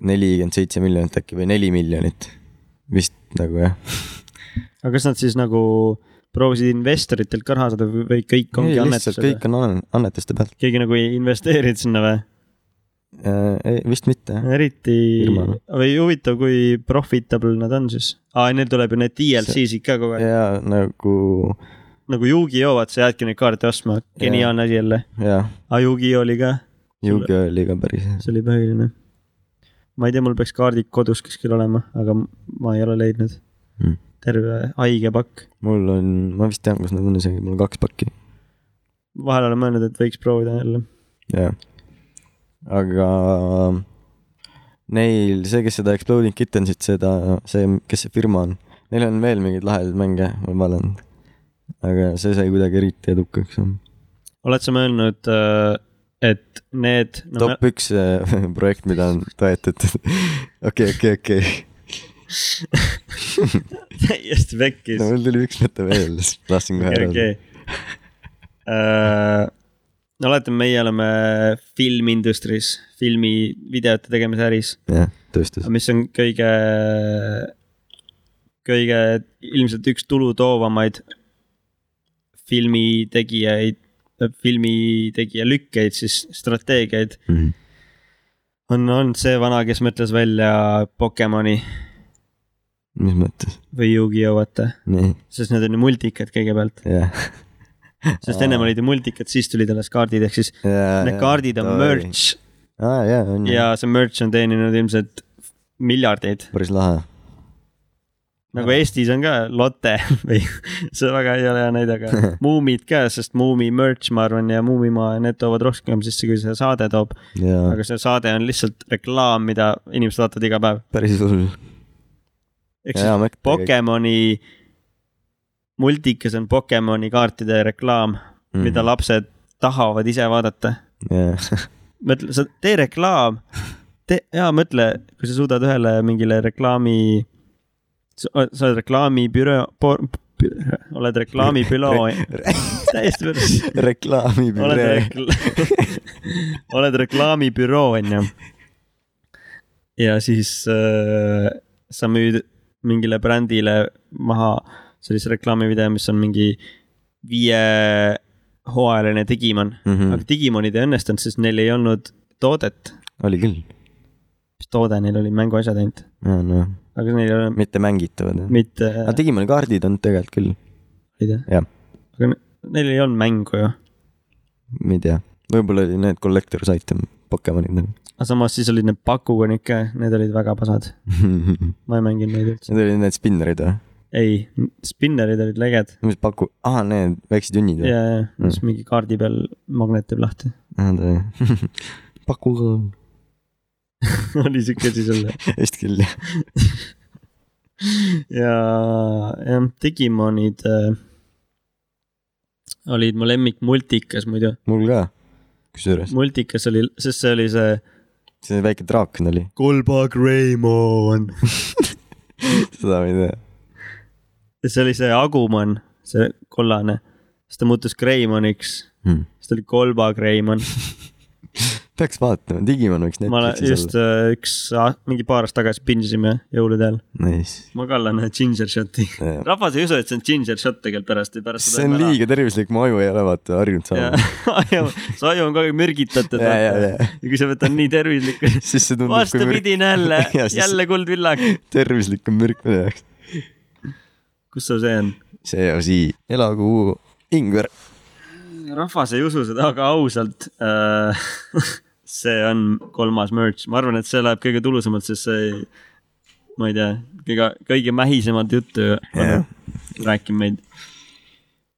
[SPEAKER 1] nelikümmend seitse miljonit äkki või neli miljonit vist nagu jah .
[SPEAKER 2] aga kas nad siis nagu proovisid investoritelt ka raha saada või või kõik ongi
[SPEAKER 1] ei , lihtsalt
[SPEAKER 2] annetused või?
[SPEAKER 1] kõik on ann- annetuste pealt .
[SPEAKER 2] keegi nagu ei investeerinud sinna või ?
[SPEAKER 1] Äh, ei , vist mitte jah .
[SPEAKER 2] eriti
[SPEAKER 1] Firmale. ,
[SPEAKER 2] või huvitav , kui profitable nad on siis . aa , neil tuleb ju need DLC-sid ka kogu aeg .
[SPEAKER 1] ja nagu
[SPEAKER 2] nagu Yugi-Oh , vaat sa jäädki neid kaarte ostma . geniaalne asi jälle .
[SPEAKER 1] jah ,
[SPEAKER 2] aa , Yugi-Oh oli ka ,
[SPEAKER 1] Yugi oli ka päris hea .
[SPEAKER 2] see oli põhiline . ma ei tea , mul peaks kaardid kodus kuskil olema , aga m- ma ei ole leidnud
[SPEAKER 1] Mm.
[SPEAKER 2] mm. . terve haige pakk .
[SPEAKER 1] mul on , ma vist tean , kus nad on isegi , mul on kaks pakki .
[SPEAKER 2] vahel olen mõelnud , et võiks proovida jälle .
[SPEAKER 1] jah . aga neil , see , kes seda Exploding Kittensit , seda , see , kes see firma on , neil on veel mingeid lahedaid mänge , ma vaatan . aga see sai kuidagi eriti edukaks .
[SPEAKER 2] oled sa mõelnud , et need noh, no,
[SPEAKER 1] top üks äh, projekt , mida on toetatud . okei , okei , okei .
[SPEAKER 2] me- täiesti pekkis
[SPEAKER 1] no mul tuli üks mõte veel , lasin kohe
[SPEAKER 2] okei ,
[SPEAKER 1] ära .
[SPEAKER 2] okei . no oletame , meie oleme filmiindustris , filmi , videote tegemise äris ,
[SPEAKER 1] jah , tööstus .
[SPEAKER 2] mis on kõige , kõige ilmselt üks tulutoovamaid filmitegijaid , filmitegija lükkeid , siis strateegiaid ,
[SPEAKER 1] Mhm.
[SPEAKER 2] on olnud see vana , kes mõtles välja Pokemoni
[SPEAKER 1] mis mõttes ?
[SPEAKER 2] või Yugi-Oh , vaata ,
[SPEAKER 1] nii ,
[SPEAKER 2] sest need on ju multikad kõigepealt ,
[SPEAKER 1] jah .
[SPEAKER 2] sest ennem olid ju multikad , siis tulid alles kaardid , ehk siis Need kaardid on . merch
[SPEAKER 1] aa , jaa , Mhm. on ju .
[SPEAKER 2] ja see merch on teeninud ilmselt miljardeid ,
[SPEAKER 1] päris lahe .
[SPEAKER 2] nagu Eestis on ka Lotte või see väga ei ole hea näide , aga Muumid ka , sest Muumi merch , ma arvan , ja Muumimaa ja need toovad rohkem sisse , kui see saade toob .
[SPEAKER 1] jaa ,
[SPEAKER 2] aga see saade on lihtsalt reklaam , mida inimesed vaatavad iga päev .
[SPEAKER 1] päris hull .
[SPEAKER 2] ehk siis Pokemoni , multikas on Pokemoni kaartide reklaam ,
[SPEAKER 1] Mhm.
[SPEAKER 2] mida lapsed tahavad ise vaadata .
[SPEAKER 1] jah ,
[SPEAKER 2] mõtle , sa tee reklaam , tee , jaa , mõtle , kui sa suudad ühele mingile reklaami , sa oled- sa oled reklaamibüroo , oled reklaamibüroo , täiesti päris , oled
[SPEAKER 1] reklaamibüree .
[SPEAKER 2] rekla- , oled reklaamibüroo , onju . ja siis äh, sa müüd mingile brändile maha sellise reklaamivideo , mis on mingi viie hooajaline Digimon
[SPEAKER 1] Mm. Mhm,
[SPEAKER 2] aga Digimonid ei õnnestunud , sest neil ei olnud toodet ,
[SPEAKER 1] oli küll ,
[SPEAKER 2] mis toode neil oli , mänguasjad ainult ,
[SPEAKER 1] nojah ,
[SPEAKER 2] aga neil ei ole
[SPEAKER 1] mitte mängitavad jah .
[SPEAKER 2] mitte ,
[SPEAKER 1] aga Digimon kaardid on tegelikult küll ,
[SPEAKER 2] ei tea
[SPEAKER 1] jah. ,
[SPEAKER 2] aga ne- neil ei olnud mängu ju ,
[SPEAKER 1] ma ei tea , võib-olla oli need collector's item Pokemonid . nagu.
[SPEAKER 2] aga samas siis olid need pakukonik ka , need olid väga pasad ,
[SPEAKER 1] Need
[SPEAKER 2] ma ei mänginud neid üldse ,
[SPEAKER 1] olid need spinnerid või ?
[SPEAKER 2] ei , spinnerid olid leged
[SPEAKER 1] mis paku- , aa need väiksed junnid
[SPEAKER 2] ja ,
[SPEAKER 1] või ?
[SPEAKER 2] ja , siis mingi kaardi peal magnet teeb lahti ,
[SPEAKER 1] pakuga on ,
[SPEAKER 2] oli siuke siis jälle
[SPEAKER 1] vist küll jah .
[SPEAKER 2] ja jah , Digimonid äh, olid mu lemmik multikas muidu ,
[SPEAKER 1] mul ka , kusjuures ,
[SPEAKER 2] multikas oli , sest see oli see
[SPEAKER 1] see väike draakon oli ,
[SPEAKER 2] kolbak Raymond .
[SPEAKER 1] seda ma ei tea .
[SPEAKER 2] see oli see Agumon , see kollane , siis ta muutus Greymoniks ,
[SPEAKER 1] Hmm.
[SPEAKER 2] siis ta oli kolbak Raymond .
[SPEAKER 1] peaks vaatama , Digimon võiks
[SPEAKER 2] ma olen
[SPEAKER 1] Netflixis
[SPEAKER 2] just
[SPEAKER 1] olla .
[SPEAKER 2] äh, üks , mingi paar aastat tagasi pindisime jõulude ajal .
[SPEAKER 1] Nice .
[SPEAKER 2] ma kallan ühe ginger shot'i . rahvas ei usu , et see on ginger shot tegelikult pärast , pärast
[SPEAKER 1] see on . liiga tervislik , mu aju ei ole vaata harjunud
[SPEAKER 2] ja
[SPEAKER 1] saama .
[SPEAKER 2] su aju on kogu aeg mürgitatud .
[SPEAKER 1] Ja, ja, ja.
[SPEAKER 2] ja kui sa võtad nii tervislikku ,
[SPEAKER 1] siis see tundub kui mürk ,
[SPEAKER 2] vastupidine jälle
[SPEAKER 1] Ja, , siis-
[SPEAKER 2] jälle kuldvillak .
[SPEAKER 1] tervislik on mürk minu jaoks .
[SPEAKER 2] kus sul see on ?
[SPEAKER 1] see on sii , elagu ingver .
[SPEAKER 2] rahvas ei usu seda , aga ausalt äh, . see on kolmas merch , ma arvan , et see läheb kõige tulusamalt , sest see , ma ei tea , kõige , kõige mähisemat juttu
[SPEAKER 1] Jah.
[SPEAKER 2] yeah. rääkib meid .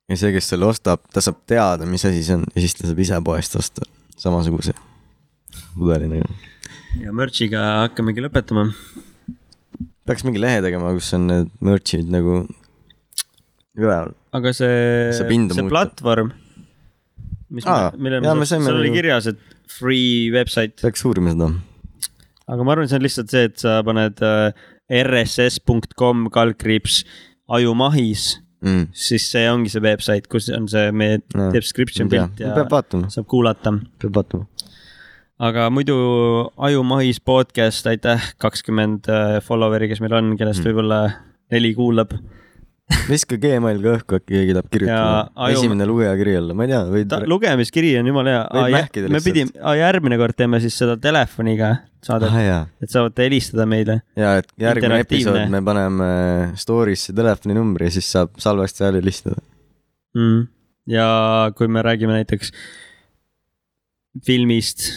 [SPEAKER 1] ja see , kes selle ostab , ta saab teada , mis asi see on ja siis ta saab ise poest osta samasuguse nagu. pudelinaga .
[SPEAKER 2] ja merch'iga hakkamegi lõpetama .
[SPEAKER 1] peaks mingi lehe tegema , kus on need merch'id nagu üleval .
[SPEAKER 2] aga see ,
[SPEAKER 1] Saab hinda
[SPEAKER 2] see
[SPEAKER 1] muuta.
[SPEAKER 2] platvorm , mis
[SPEAKER 1] Aa,
[SPEAKER 2] ah, , millele
[SPEAKER 1] jaa,
[SPEAKER 2] me
[SPEAKER 1] me saime
[SPEAKER 2] saime , seal oli
[SPEAKER 1] ju-
[SPEAKER 2] kirjas , et free website ,
[SPEAKER 1] peaks uurima seda .
[SPEAKER 2] aga ma arvan , see on lihtsalt see , et sa paned äh, rss.com kaldkriips ajumahis
[SPEAKER 1] Mm.
[SPEAKER 2] siis see ongi see website , kus on see meie
[SPEAKER 1] Jaa.
[SPEAKER 2] description
[SPEAKER 1] Ma ei tea.
[SPEAKER 2] pilt ja
[SPEAKER 1] peab vaatama ,
[SPEAKER 2] saab kuulata .
[SPEAKER 1] peab vaatama .
[SPEAKER 2] aga muidu Ajumahis podcast , aitäh , kakskümmend äh, follower'i , kes meil on ,
[SPEAKER 1] Mm.
[SPEAKER 2] kellest võib-olla neli kuulab .
[SPEAKER 1] viska Gmail ka õhku , äkki keegi tahab kirjutada
[SPEAKER 2] Ja aju- .
[SPEAKER 1] esimene lugeja kirja alla , ma ei tea , võid
[SPEAKER 2] ta ,, lugemiskiri on jumala
[SPEAKER 1] Võib
[SPEAKER 2] hea
[SPEAKER 1] mähkida .
[SPEAKER 2] me
[SPEAKER 1] lihtsalt.
[SPEAKER 2] pidime , järgmine kord teeme siis seda telefoniga saadet
[SPEAKER 1] ah , jaa ,
[SPEAKER 2] et saavate helistada meile .
[SPEAKER 1] ja et järgmine
[SPEAKER 2] Interaktiivne.
[SPEAKER 1] episood me paneme story'sse telefoninumbri ja siis saab salvesti hääli listada .
[SPEAKER 2] mm. . ja kui me räägime näiteks filmist ,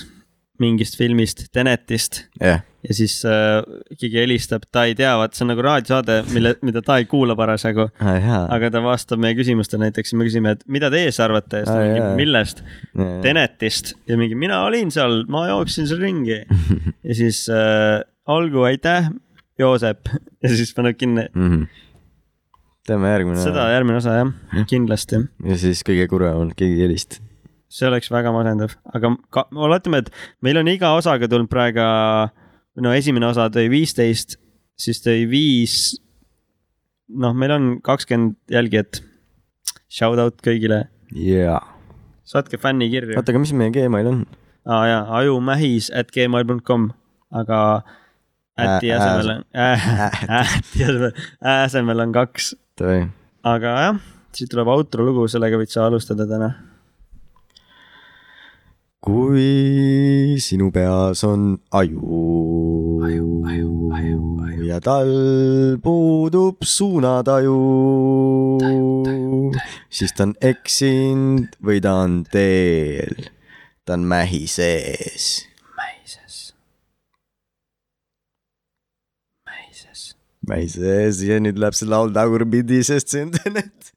[SPEAKER 2] mingist filmist , Tenetist
[SPEAKER 1] jah ,
[SPEAKER 2] ja siis äh, keegi helistab , ta ei tea , vaat see on nagu raadiosaade , mille , mida ta ei kuula parasjagu ,
[SPEAKER 1] jaa .
[SPEAKER 2] aga ta vastab meie küsimustele , näiteks me küsime , et mida teie siis arvate ,
[SPEAKER 1] Aa, jaa.
[SPEAKER 2] millest , Tenetist ja mingi mina olin seal , ma jooksin seal ringi ja siis äh, olgu , aitäh , Joosep ja siis paneb kinni ,
[SPEAKER 1] Mhm. teeme
[SPEAKER 2] seda
[SPEAKER 1] järgmine
[SPEAKER 2] järgmine osa jah , kindlasti
[SPEAKER 1] ja siis kõige kurvem , keegi ei helista .
[SPEAKER 2] see oleks väga masendav , aga ka, oletame , et meil on iga osaga tulnud praegu , no esimene osa tõi viisteist , siis tõi viis . noh , meil on kakskümmend jälgijat . Shout out kõigile ,
[SPEAKER 1] jaa .
[SPEAKER 2] saatke fännikirju ,
[SPEAKER 1] oota , aga mis meie Gmail on ?
[SPEAKER 2] aa jaa , ajumähis at gmail.com , aga . Äti
[SPEAKER 1] Ä-
[SPEAKER 2] asemel on , äti asemel , ä asemel on kaks ,
[SPEAKER 1] Davai ,
[SPEAKER 2] aga jah , siit tuleb outro lugu , sellega võid sa alustada täna .
[SPEAKER 1] kui sinu peas on aju, aju, aju, aju, aju. ja tal puudub suunataju , siis ta on eksinud või ta on teel , ta on mähi sees .
[SPEAKER 2] mähises . mähises .
[SPEAKER 1] mähi sees ja nüüd läheb see laul tagurpidi , sest see on tenet .